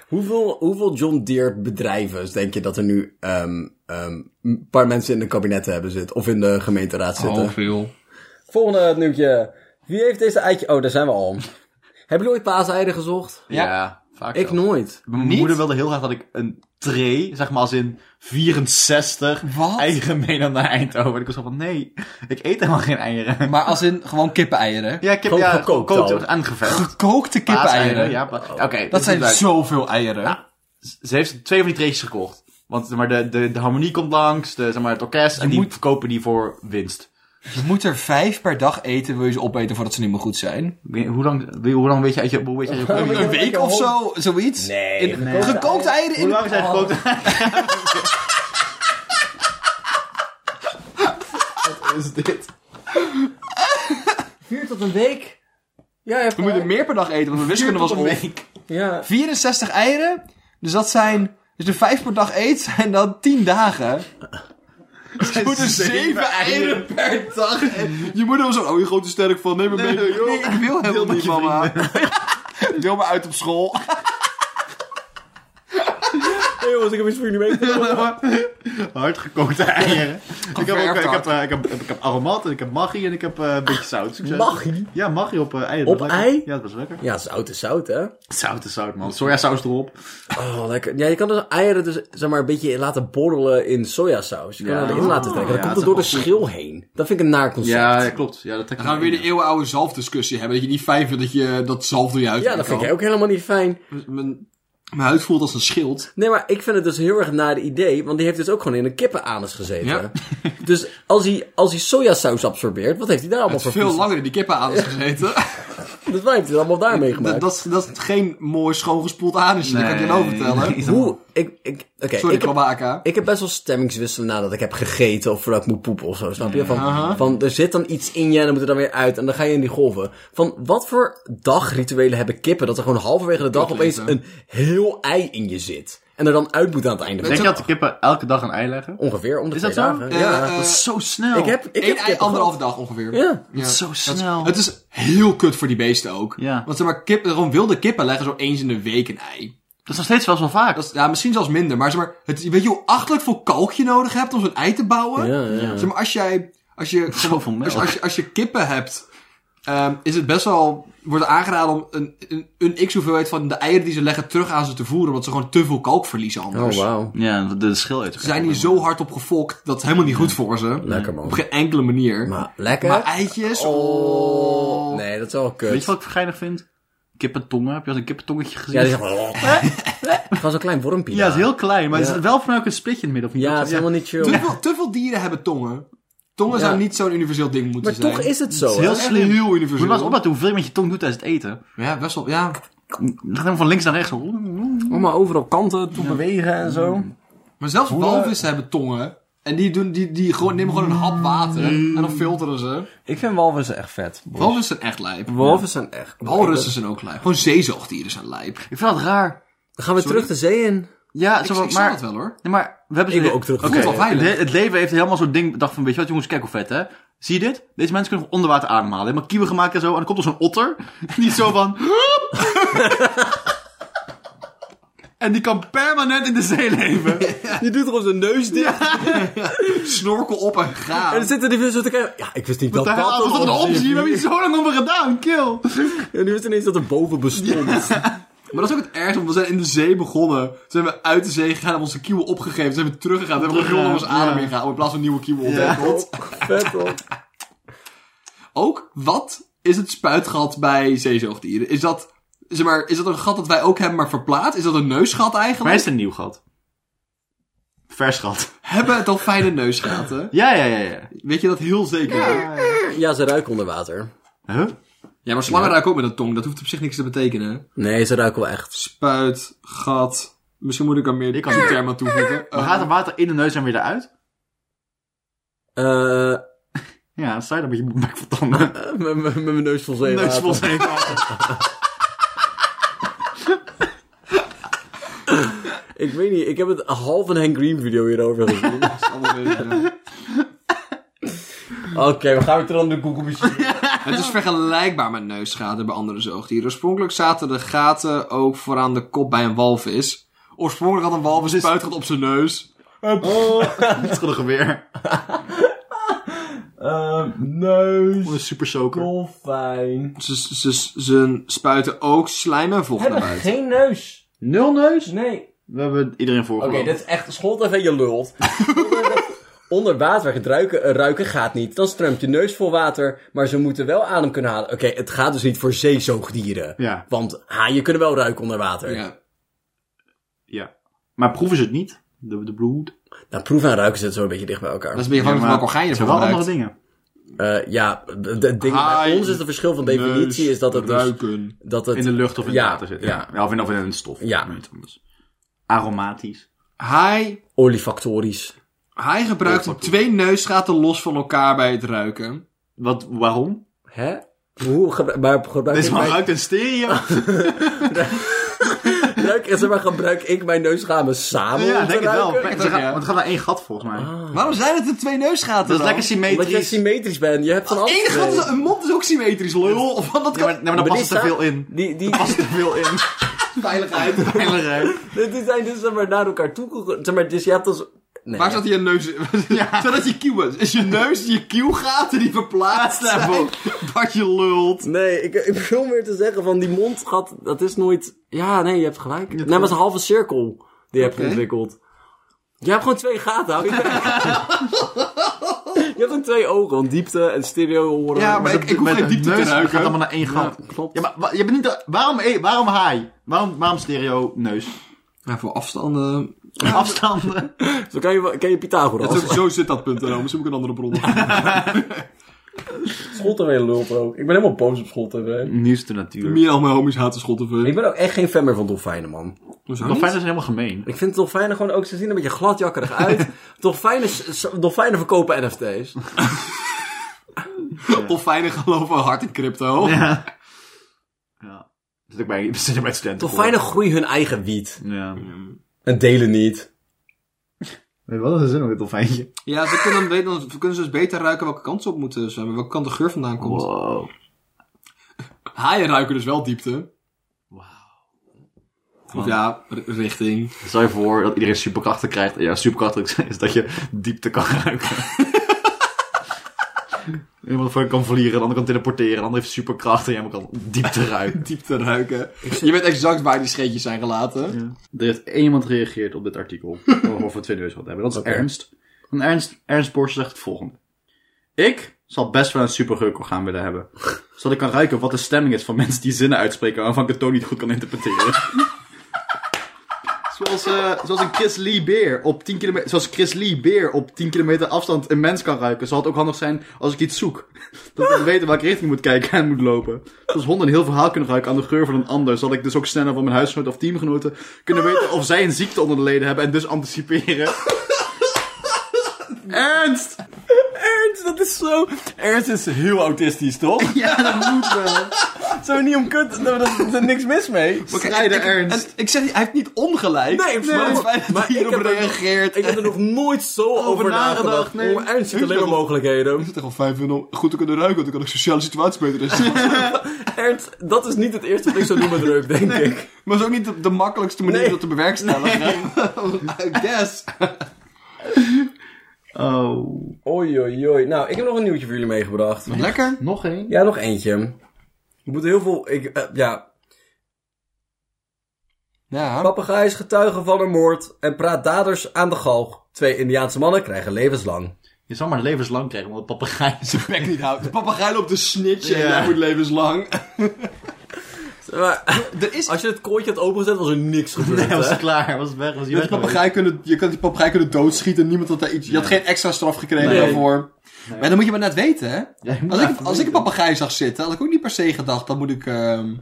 Hoeveel, hoeveel John Deere bedrijven denk je dat er nu ehm, ehm, een paar mensen in de kabinetten hebben zitten? Of in de gemeenteraad Oh, zitten? veel. Volgende nieuwtje. Wie heeft deze eitje... Oh, daar zijn we al. Hebben jullie ooit paaseieren gezocht? Ja, Ja. vaak Ik zo. nooit. Mijn Niet? moeder wilde heel graag dat ik een tree, zeg maar als in 64, Wat? eieren meenam naar Eindhoven. En ik was zo van, nee, ik eet helemaal geen eieren. Maar als in gewoon kippeneieren. Ja, ik heb Gewoon ja, gekookt gekookt al. en aangevecht. Gekookte kippeneieren. Ja, pa- oké. Dat zijn duidelijk. zoveel eieren. Ze heeft twee van die treetjes gekocht. Want zeg maar, de, de, de harmonie komt langs, de, zeg maar, het orkest. en die moet- verkopen die voor winst. Je moet er vijf per dag eten, wil je ze opeten voordat ze niet meer goed zijn. Ik weet- Hoe lang, hoe lang weet je uit je... Hoe weet je, uit je Een week of zo, zoiets. Nee, In- nee. Gekookte eieren in Oh. hoe lang zijn gekookt? Wat is dit? Vier tot een week? Ja, je hebt We moeten meer per dag eten, want mijn wiskunde was om. Ja. 64 eieren. Dus dat zijn. Dus de 5 per dag eet zijn dan 10 dagen. Je moet er 7 eieren per dag eten. Je moeder was zo. Oh, je grote sterk van. Neem me mee. Nee, ik wil helemaal niet, mama. Deel me uit op school. Hey jongens, ik heb iets voor jullie mee. Hardgekookte eieren. ik, heb ook, Geverfd ik, heb, hard. eh, ik, heb, ik heb aromat, en ik heb maggi en ik heb eh, een beetje zout. Succes. Maggi? Ja, maggi op eh eieren. Op Dat is lekker. ei? Ja, dat was lekker. Ja, zout is zout, hè? Zout is zout, man. Sojasaus erop. Oh, lekker. Ja, je kan dus eieren dus, zeg maar, een beetje laten borrelen in sojasaus. Je kan Ja. er erin laten trekken. Ja, Dat komt dat er is door de wel goed. schil heen. Dat vind ik een naar concept. Ja, ja, klopt. Ja, dat trek ik Dan gaan we weer in, de eeuwenoude zalfdiscussie hebben. Dat je niet vijf wil dat je eh, dat zalf door je huid Ja, heen dat vind kan. ik ook helemaal niet fijn. Mijn, mijn huid voelt als een schild. Nee, maar ik vind het dus heel erg naar de idee, want die heeft dus ook gewoon in een kippenanus gezeten. Ja. dus als hij, als hij sojasaus absorbeert, wat heeft hij daar allemaal voor Veel vies? langer in die kippen aan is gezeten. Dus wij heeft hij het allemaal daar meegemaakt. Dat, dat, is- dat is geen mooi schoongespoeld anusje. Dat kan ik je nou Nee. vertellen. Hoe? Ik, ik, oké, Sorry, ik, heb, Kabaka. ik heb best wel stemmingswisselen nadat ik heb gegeten of voordat ik moet poepen of zo, snap je? Van, van er zit dan iets in je en dan moet er dan weer uit en dan ga je in die golven. Van wat voor dagrituelen hebben kippen dat er gewoon halverwege de dag opeens een heel ei in je zit en er dan uit moet aan het einde? Denk je dat de kippen elke dag een ei leggen? Ongeveer om de Is twee dat zo? nou, dagen. Eh, ja. eh, dat is zo snel. Ik heb, ik Eén heb ei, kippen anderhalve gehad. dag ongeveer. Ja. Ja. Zo snel. Het is heel kut voor die beesten ook. Ja. Want zeg maar, kip, gewoon wilde kippen leggen zo eens in de week een ei. Dat is nog steeds wel zo vaak. Dat is, ja, misschien zelfs minder. Maar zeg maar, het, weet je hoe achterlijk veel kalk je nodig hebt om zo'n ei te bouwen? Ja, ja. Zeg maar, als jij... Als je, Zoveel melk. als, als je, als je kippen hebt, ehm, is het best wel... Wordt er aangeraden om een, een, een x-hoeveelheid van de eieren die ze leggen terug aan ze te voeren. Omdat ze gewoon te veel kalk verliezen Oh, anders. wauw. Ja, de- de schil uit. Ze zijn hier zo hard op gefokt, dat is helemaal niet goed voor ze. Lekker, man. Op geen enkele manier. Maar lekker. Maar eitjes... oh. Nee, dat is wel kut. Weet je wat ik geinig vind? Kippentongen. Heb je al een kippentongetje gezien? Ja, die zegt... Gewoon zo'n klein wormpje. Ja, het daar. is heel klein, maar er zit wel vanuit een splitje in het midden. Of niet? Ja, het Dat- is helemaal niet chill. Te, veel, te veel dieren hebben tongen. Tongen Ja. zou niet zo'n universeel ding moeten Maar zijn. toch is het zo. heel hè? is s- echt slim. heel Moet je maar eens universeel. opletten hoeveel je met je tong doet tijdens het eten. Ja, best wel. Ja. Dan gaat helemaal van links naar rechts. Allemaal overal kanten toe bewegen en Mm. zo. Maar zelfs walvissen hebben tongen. En die, doen, die, die gewoon, nemen gewoon een hap water. En dan filteren ze. Ik vind walvissen echt vet. Walvissen zijn echt lijp. Walvissen zijn echt... Walrussen zijn ook lijp. Gewoon zeezoogdieren zijn lijp. Ik vind dat raar. Dan gaan we terug de zee in. Ja, Ik, zo, van, ik snap maar, het wel hoor. Nee, maar we hebben Ik zo- wil ook terug. Oké, Voelt wel veilig. het, het leven heeft helemaal zo'n ding bedacht van, weet je wat jongens, kijk hoe vet hè. Zie je dit? Deze mensen kunnen onder water ademhalen. Helemaal kieuwen gemaakt en zo. En dan komt er zo'n otter. En die is zo van... En die kan permanent in de zee leven. Die doet er op zijn neus dicht. Snorkel op en ga. En dan zitten die mensen zo te kijken. Ja, ik wist niet dat Dat dat was toch een optie? We hebben hier zo lang over gedaan. Kill. En nu wist ineens dat er boven bestond. Maar dat is ook het ergste, want we zijn in de zee begonnen. Toen zijn we uit de zee gegaan, hebben onze kieuwen opgegeven. Toen zijn we teruggegaan, toen hebben we heel ons adem ingehaald. In plaats van nieuwe kieuwen ontwikkeld. Vet hoor. Ook, wat is het spuitgat bij zeezoogdieren? Is dat, zeg maar, is dat een gat dat wij ook hebben, maar verplaatst? Is dat een neusgat Maar eigenlijk? is het een nieuw gat? Vers gat. Hebben het al fijne neusgaten? Ja, ja, ja, ja. Weet je dat heel zeker? Ja, Ja, ze ruiken onder water. Huh? maar slangen ruiken ook met een tong. Dat hoeft op zich niks te betekenen. Nee, ze ruiken wel echt. Spuitgat. Misschien moet ik er meer Ik kan- die term aan toevoegen. Oh. Maar gaat het water in de neus en weer eruit? Eh, Ja, dan sta je dan met je bek vol tanden. met- met met mijn neus vol zeewater. Neus vol zeewater. Ik weet niet, ik heb het half een Hank Green video hierover gezien. Eh, Oké, we gaan weer terug naar de Google machine. Het is vergelijkbaar met neusgaten bij andere zoogdieren. Oorspronkelijk zaten de gaten ook vooraan de kop bij een walvis. Oorspronkelijk had een walvis een spuitgat op zijn neus. Het is gewoon een geweer. Ehm, neus, Gewoon Een super soaker. dolfijn. Ze, ze, ze spuiten ook slijm en vocht naar Hebben buiten. geen neus. Nul neus? Nee. We hebben iedereen voor. Oké, dit is echt school even je lult. Onder water het ruiken, eh, ruiken gaat niet. Dan stroomt je neus vol water, maar ze moeten wel adem kunnen halen. Oké, het gaat dus niet voor zeezoogdieren. Ja. Want haaien kunnen wel ruiken onder water. Ja. Ja. Maar proeven ze het niet? De, de bloed. Nou, proeven en ruiken zitten zo een beetje dicht bij Dat elkaar. is een beetje maar gewoon welk orgaan je het zijn ervoor wel gebruikt. andere dingen. Eh, ja, de, de ding, bij Haai, ons is het verschil van definitie Neus, is dat het dus- ruiken. dat het In de lucht of in Ja, het water zitten. ja. Ja. Ja, Of, in, of in een stof. Ja. Maar iets anders. Aromatisch. Hij, olifactorisch. hij gebruikt de twee neusgaten los van elkaar bij het ruiken. Wat, waarom? Hè? Hoe gebru- maar gebruik Deze ik man mijn, ruikt een stereo. gebruik, zeg maar, gebruik ik mijn neusramen samen om ja, te denk het wel. ruiken? Want het ook, ja. het gaat naar één gat volgens mij. Waarom zijn het de twee neusgaten Dat is dan? lekker Omdat jij symmetrisch. symmetrisch bent. Je hebt van alles. Eén gat is, een mond is ook symmetrisch, lul. Of wat dat Ja, maar, kan... nee, maar dan Maar past die er te staan- veel in. Die, die, Er past te veel in. Veiligheid. Veiligheid. die zijn dus zeg maar, naar elkaar toe. gege- Zeg maar, dus je hebt als. Nee. Waar zat je neus in? Ja. Zodat je kieuwen. Is je neus je kieuwgaten die verplaatst zijn? Dat je lult. Nee, ik, ik wil meer te zeggen van die mondgat, dat is nooit. Ja, nee, je hebt gelijk. Nee, maar het is een halve cirkel die je hebt Oké. ontwikkeld. Je hebt gewoon twee gaten, hou je bek. Je hebt ook twee ogen, want diepte en stereo horen. Ja, maar ik, ik hoef Met geen een diepte te neus ruiken. gaat allemaal naar één gat. Ja, klopt. maar wa- je bent niet... de- Waarom, eh, waarom haai? Waarom, waarom stereo neus? Ja, voor afstanden. Afstanden. Zo kan je, kan je Pythagoras. Dat is ook, zo zit dat punt erom. Misschien moet ik een andere bron op. Schotten weer lult ook. Ik ben helemaal boos op Schotten. Nieuwste natuur. Meer al mijn homies haten schotten. Ik ben ook echt geen fan meer van dolfijnen, man. Dolfijnen zijn dus helemaal gemeen. Ik vind dolfijnen gewoon ook, ze zien er een beetje gladjakkerig uit. dolfijnen, s- s- dolfijnen verkopen NFT's. Dolfijnen geloven hard in crypto. Ja. Ja. Zit ook bij, zit ook bij studenten. Dolfijnen groeien hun eigen wiet. Ja. En delen niet. Wat is de zin met het dolfijntje? Ja, ze kunnen, weten, dan kunnen ze dus beter ruiken welke kant ze op moeten zwemmen. Welke kant de geur vandaan komt. Wow. Haaien ruiken dus wel diepte. Of ja, r- richting. Stel je voor dat iedereen superkrachten krijgt. Ja, superkrachten is dat je diepte kan ruiken. Iemand van je kan vliegen, de ander kan teleporteren, de ander heeft superkrachten en jij kan diepte ruiken. Diepte ruiken. Je weet exact waar die scheetjes zijn gelaten. Er heeft iemand gereageerd op dit artikel over we twee neus wat hebben. Dat is Ernst. En Ernst, Ernst Borst zegt het volgende. Ik zal best wel een supergeukorgaan willen hebben. Zodat ik kan ruiken wat de stemming is van mensen die zinnen uitspreken waarvan ik het toon niet goed kan interpreteren. Zoals, eh, zoals een Chris Lee Beer op 10 kilometer, zoals Chris Lee Beer op 10 kilometer afstand een mens kan ruiken. Zal het ook handig zijn als ik iets zoek. Dat ik dan weet in welke richting ik moet kijken en moet lopen. Zoals honden een heel verhaal kunnen ruiken aan de geur van een ander. Zal ik dus ook sneller van mijn huisgenoot of teamgenoten kunnen weten of zij een ziekte onder de leden hebben en dus anticiperen. Ernst! Ernst, dat is zo... Ernst is heel autistisch, toch? Ja, dat moet wel. Zo niet om kut, daar is er niks mis mee. Strijden ik, Ernst. En ik zeg, niet, hij heeft niet ongelijk. Nee, maar het feit dat maar hij ik hierop heb er- reageert. Ik heb er nog nooit zo over nagedacht, nagedacht. nee. Oh, "Oh, Ernst ziet alleen maar mogelijkheden. het echt wel fijn vinden om goed te kunnen ruiken, want dan kan ik sociale situaties beter in. Ernst, dat is niet het eerste wat ik zou doen met druk, denk ik. Maar het is ook niet de, de makkelijkste manier Nee. om dat te bewerkstelligen. I guess. Oh. Oei, oei, oei. Nou, ik heb nog een nieuwtje voor jullie meegebracht. Lekker. Nog één? Ja, nog eentje. Ik moet heel veel... Ik, eh, ja, Ja. papegaai is getuige van een moord en praat daders aan de galg. Twee Indiaanse mannen krijgen levenslang. Je zal maar levenslang krijgen, omdat papegaai zijn Bek niet houdt. De papegaai loopt te snitchen Ja. en hij moet levenslang. Maar, Er is... als je het kooitje had opengezet, was er niks gebeurd, was hè? het klaar, was het weg, was hij Met weg die papegaai kunnen, je kan die papegaai kunnen doodschieten. Niemand had daar iets... Je had geen extra straf gekregen Nee. daarvoor. Maar dan moet je maar net weten, hè? Ja, je moet Als ik, even als ik een weten. papegaai zag zitten, had ik ook niet per se gedacht, dan moet ik... ehm,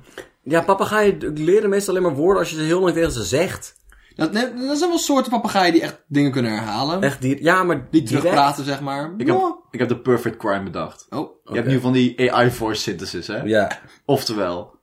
Ja, papegaaien leren meestal alleen maar woorden als je ze heel lang tegen ze zegt. Dat, nee, dat zijn wel soorten papegaaien die echt dingen kunnen herhalen. Echt die... Ja, maar... Die direct- terugpraten, zeg maar. Ik heb, Oh. ik heb de perfect crime bedacht. Oh. Je hebt nu van die AI voice synthesis, hè? Ja. Oftewel,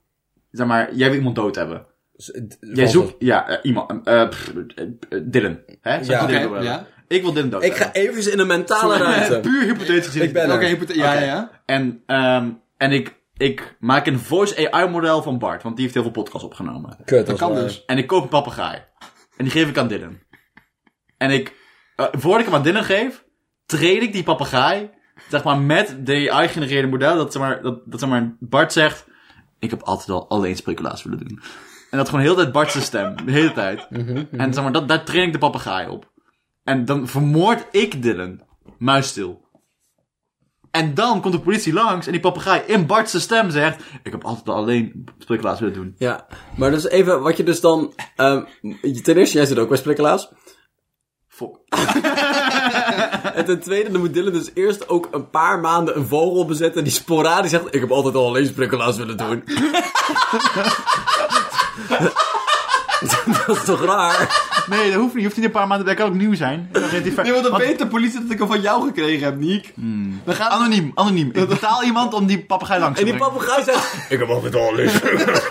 zeg maar, jij wil iemand dood hebben. Z- d- Jij Walter. zoekt, ja, eh, iemand, eh, pff, eh, eh, Dylan. Hè? Zou Ja. ik Dylan Oké, willen ja. hebben? Ik wil Dylan dood Ik ga hebben. even in een mentale Eh, ruimte. Puur hypothetisch gezien. Ik ben Oké, er. hypothe- ja, Oké. ja, ja. En, ehm, en ik, ik maak een voice AI model van Bart, want die heeft heel veel podcasts opgenomen. Kut, Dat als kan waar. dus. En ik koop een papegaai. En die geef ik aan Dylan. En ik, eh, voordat ik hem aan Dylan geef, train ik die papegaai, zeg maar, met de AI-genereerde model, dat, zeg maar, dat, dat zeg maar, Bart zegt, ik heb altijd al alleen speculatie willen doen. En dat gewoon heel de tijd Bart's stem, de hele tijd. En zeg maar, dat, daar train ik de papegaai op. En dan vermoord ik Dylan, muisstil. En dan komt de politie langs en die papegaai in Bart's stem zegt, ik heb altijd al alleen speculatie willen doen. Ja, maar dus even wat je dus dan... ehm, je- ten eerste, jij zit ook bij Sprikkelaars. Fuck. En ten tweede, dan moet Dylan dus eerst ook een paar maanden een vogel bezetten die sporadisch zegt... Ik heb altijd al alleen Sprikkelaars willen doen. dat is toch raar? Nee, dat hoeft niet. Je hoeft niet een paar maanden. Dat kan ook nieuw zijn. Dan geeft hij ver- Nee, want dan Want- weet de politie dat ik hem van jou gekregen heb, Niek. Dan gaan Anoniem, anoniem. Ik betaal iemand om die papegaai langs En te die brengen. papegaai zegt... Ik heb altijd al alleen Sprikkelaars."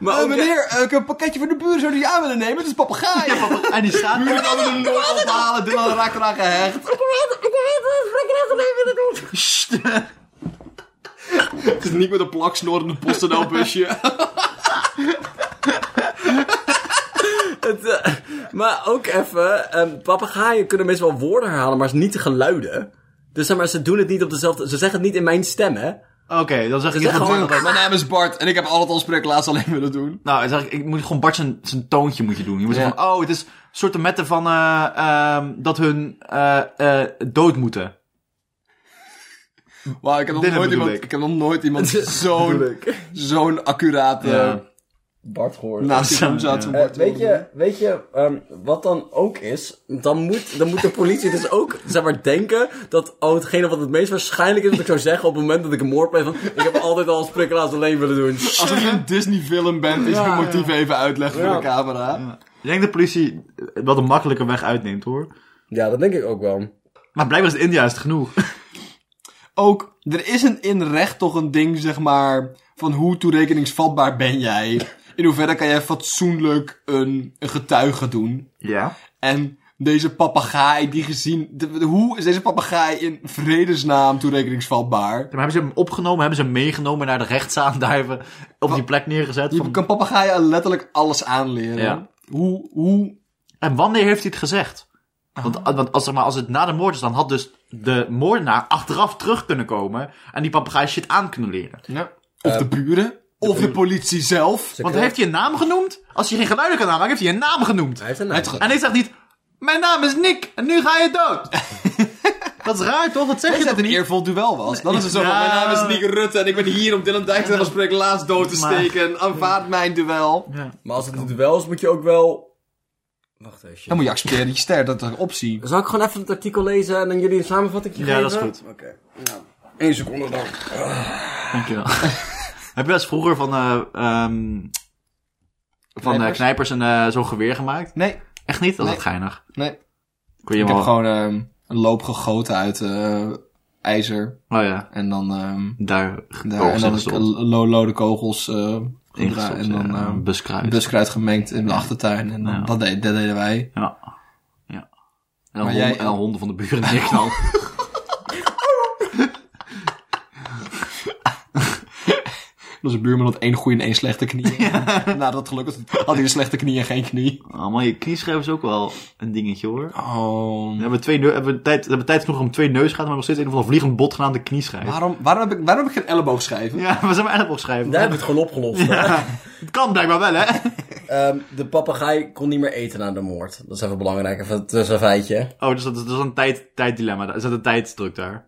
maar Eh, ook- e- meneer, eh, ik heb een pakketje voor de buren, zou die aan willen nemen? Het is papegaai. Ja, En die staat Buren kan hem nooit ophalen, Dylan raakt eraan gehecht. Sst. Het is niet met een plaksnor in een PostNL-busje. Het, eh, maar ook even, ehm papegaaien kunnen meestal wel woorden herhalen, maar niet de geluiden. Dus zeg maar, ze doen het niet op dezelfde... Ze zeggen het niet in mijn stem, hè? Oké, dan zeg ik... Zeg ik ga- gewoon- Mijn naam is Bart en ik heb altijd al spreeklaas alleen willen doen. Nou, dan zeg ik, ik moet gewoon Bart zijn, zijn toontje moet je doen. Je moet Ja. zeggen van, oh, het is een soort de metten van eh, ehm, dat hun eh, eh, dood moeten. Wauw, ik heb nog Dylan nooit bedoel iemand, ik. ik. heb nog nooit iemand zo'n, zo'n accurate eh, Ja. Bart hoor. naast hem zat. van Bart. Eh, weet je, weet je ehm, wat dan ook is? Dan moet, dan moet de politie dus ook zeg maar, denken dat oh, hetgene wat het meest waarschijnlijk is wat ik zou zeggen op het moment dat ik een moord pleeg. Van, ik heb altijd al sprikkelaars alleen willen doen. Alsof je een Disney-film bent, is je motief even uitleggen voor de camera. Ik denk dat de politie eh, wel de makkelijke weg uitneemt, hoor. Ja, dat denk ik ook wel. Maar blijkbaar is het India is het genoeg. ook, er is een in recht toch een ding, zeg maar, van hoe toerekeningsvatbaar ben jij? In hoeverre kan jij fatsoenlijk een, een getuige doen? Ja. En deze papegaai die gezien... de- de- hoe is deze papegaai in vredesnaam toerekeningsvatbaar? Maar hebben ze hem opgenomen, hebben ze hem meegenomen naar de rechtszaal, daar even op die plek neergezet. Je van- kan papegaaien letterlijk alles aanleren. Ja. Hoe, hoe... En wanneer heeft hij het gezegd? Want, ah, want als, zeg maar, als het na de moord is, dan had dus de moordenaar achteraf terug kunnen komen en die papegaai shit aan kunnen leren. Of de buren? Of Eh, de politie zelf? Want heeft hij een naam genoemd? Als hij geen geluiden kan aanmaken, heeft hij een naam genoemd. Hij heeft een naam. Het ge- En hij zegt niet, mijn naam is Nick en nu ga je dood. dat is raar toch? Dat zeg Als je het toch een niet? eervol duel was, dan is het zo van, Nou. mijn naam is Nick Rutte en ik ben hier om Dylan Dijk te gesprek laatst dood te Maar- steken. Aanvaard mijn duel. Maar als het een duel is, moet je ook wel... Wacht even. Dan moet je accepteren dat je sterft, dat is een optie. Zal ik gewoon even het artikel lezen en dan jullie een samenvatting geven? Ja, dat is goed. Oké. Nou, één seconde dan. Dankjewel. Heb je wel eens vroeger van, eh, ehm, van eh, Knijpers? knijpers een eh, zo'n geweer gemaakt? Nee, Echt niet? Dat is Nee. echt geinig. nee. Kun je Ik wel... heb gewoon ehm, een loop gegoten uit eh, ijzer. Oh ja, En dan, ehm, daar... daar, Oh, en zo dan is ik het. lo- lode kogels eh, gedra- ingestopt. eh, en dan ja, ehm, buskruid. buskruid gemengd in de achtertuin. En dan, Ja. dat, deed- dat deden wij. Ja. ja. En, dan Maar honden, jij- en dan honden van de buren neerknallen. Dat is een buurman dat één goede en één slechte knie. Nou, dat gelukkig had hij een slechte knie en geen knie. Oh, maar je knieschijf is ook wel een dingetje hoor. Oh. We hebben, twee neu- hebben, tijd, we hebben tijd genoeg om twee neusgaten, maar nog steeds een of ander vliegend bot genaamd de knieschijf. Waarom, waarom, heb ik, waarom heb ik geen elleboogschijven? Ja, we zijn maar elleboogschijven. Daar heb ik het gewoon opgelost. hè. Het kan blijkbaar wel, hè? Ehm, de papegaai kon niet meer eten na de moord. Dat is even belangrijk. Even, dat is een feitje. Oh, dus dat, dat is een tijd, tijddilemma. Er zit een tijdsdruk daar.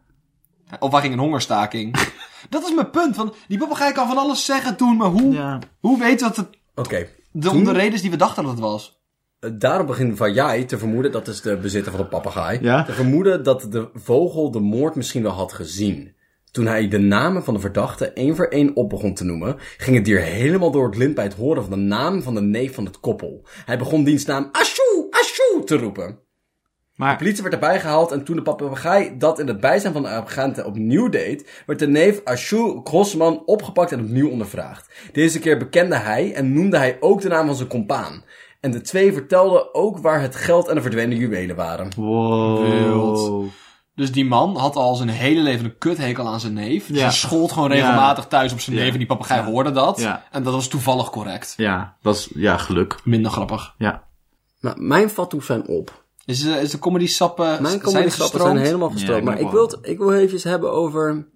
Of waar ging een hongerstaking? dat is mijn punt. Van, die papegaai kan van alles zeggen toen, maar hoe, Ja. hoe weet dat het Oké. de, om de redenen die we dachten dat het was? Eh, Daarom begint Vajai te vermoeden, dat is de bezitter van de papegaai, Ja. te vermoeden dat de vogel de moord misschien wel had gezien. Toen hij de namen van de verdachten één voor één op begon te noemen, ging het dier helemaal door het lint bij het horen van de naam van de neef van het koppel. Hij begon diens naam Ashoe, Ashoe te roepen. Maar- de politie werd erbij gehaald en toen de papegaai dat in het bijzijn van de agenten opnieuw deed, werd de neef Ashoe Grossman opgepakt en opnieuw ondervraagd. Deze keer bekende hij en noemde hij ook de naam van zijn compaan. En de twee vertelden ook waar het geld en de verdwenen juwelen waren. Wow. Wild. Dus die man had al zijn hele leven een kuthekel aan zijn neef. Dus Ja. hij schold gewoon regelmatig thuis op zijn Ja. neef en die papegaai hoorde dat. Ja. En dat was toevallig correct. Ja, dat is, ja, geluk. Minder grappig. Ja. Nou, mijn fatsoes zijn op. Is, eh, is de comedy sappen Mijn zijn comedy-grappen zijn gestroomd? helemaal gestroomd. ik maar ook ik wil, wel. het- ik wil even hebben over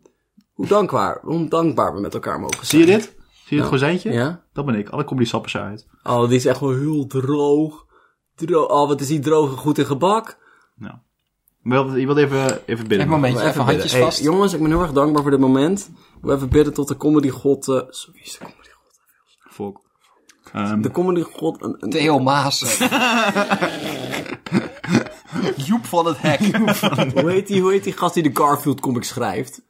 hoe dankbaar, hoe dankbaar we met elkaar mogen Zie zijn. je dit? Zie je het gozijntje? Ja. Dat ben ik. Alle comedy sappers uit. Oh, die is echt wel heel droog. Dro oh, wat is die droge goed in gebak. Wil iemand even, even binnen? Even een momentje, even bidden. handjes Hey, vast. jongens, ik ben heel erg dankbaar voor dit moment. Ik wil even bidden tot de comedygod... eh, zo, wie is de comedygod? Volk. Ehm, De comedygod... Een, een, Theo Maas. Joep van het Hek. hoe, heet die, hoe heet die gast die de Garfield comic schrijft?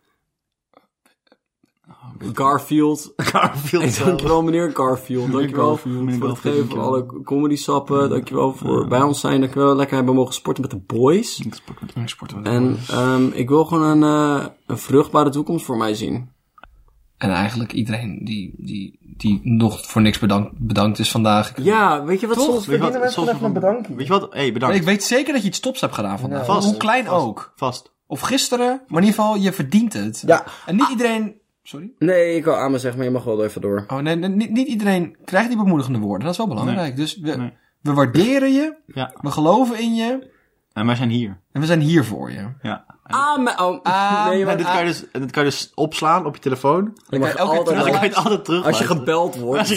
Garfield. Garfield Hey, zelf. dankjewel meneer Garfield. Dankjewel voor het geven van alle comedy sappen. Dankjewel voor bij ons zijn. Dankjewel lekker hebben mogen sporten met de boys. Ik sport met- ik sport met- En ehm, ik wil gewoon een, eh, een vruchtbare toekomst voor mij zien. En eigenlijk iedereen die, die, die nog voor niks bedankt, bedankt is vandaag. Ik- Ja, weet je wat? Soms Weet je verdienen wat? mensen Soms gewoon even een nog- bedankje. Weet je wat? hey, bedankt. Ik weet zeker dat je iets tops hebt gedaan vandaag. Vast. Hoe klein Vast. ook. Vast. Of gisteren, maar in ieder geval, je verdient het. Ja. En niet iedereen... Sorry? Nee, ik wil aan me zeggen, maar je mag wel even door. Oh, nee, nee, niet, niet iedereen krijgt die bemoedigende woorden. Dat is wel belangrijk. Dus we, Nee. we waarderen je. Ja. We geloven in je. En wij zijn hier. En we zijn hier voor je. Ja. Ah, me- oh, Ah, nee, En maar, dit kan, je dus, en dit kan je dus opslaan op je telefoon. je mag elke keer altijd En dan terug- wel- kan je het altijd terug. Als je gebeld wordt.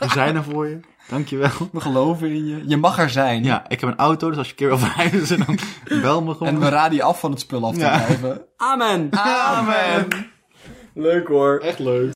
We zijn er voor je. Dankjewel. We geloven in je. Je mag er zijn. Ja, ik heb een auto, dus als je een keer wil verhuizen, dan bel me gewoon. En we raden je af van het spul af te Ja. blijven. Amen. Amen. Leuk hoor. Echt leuk.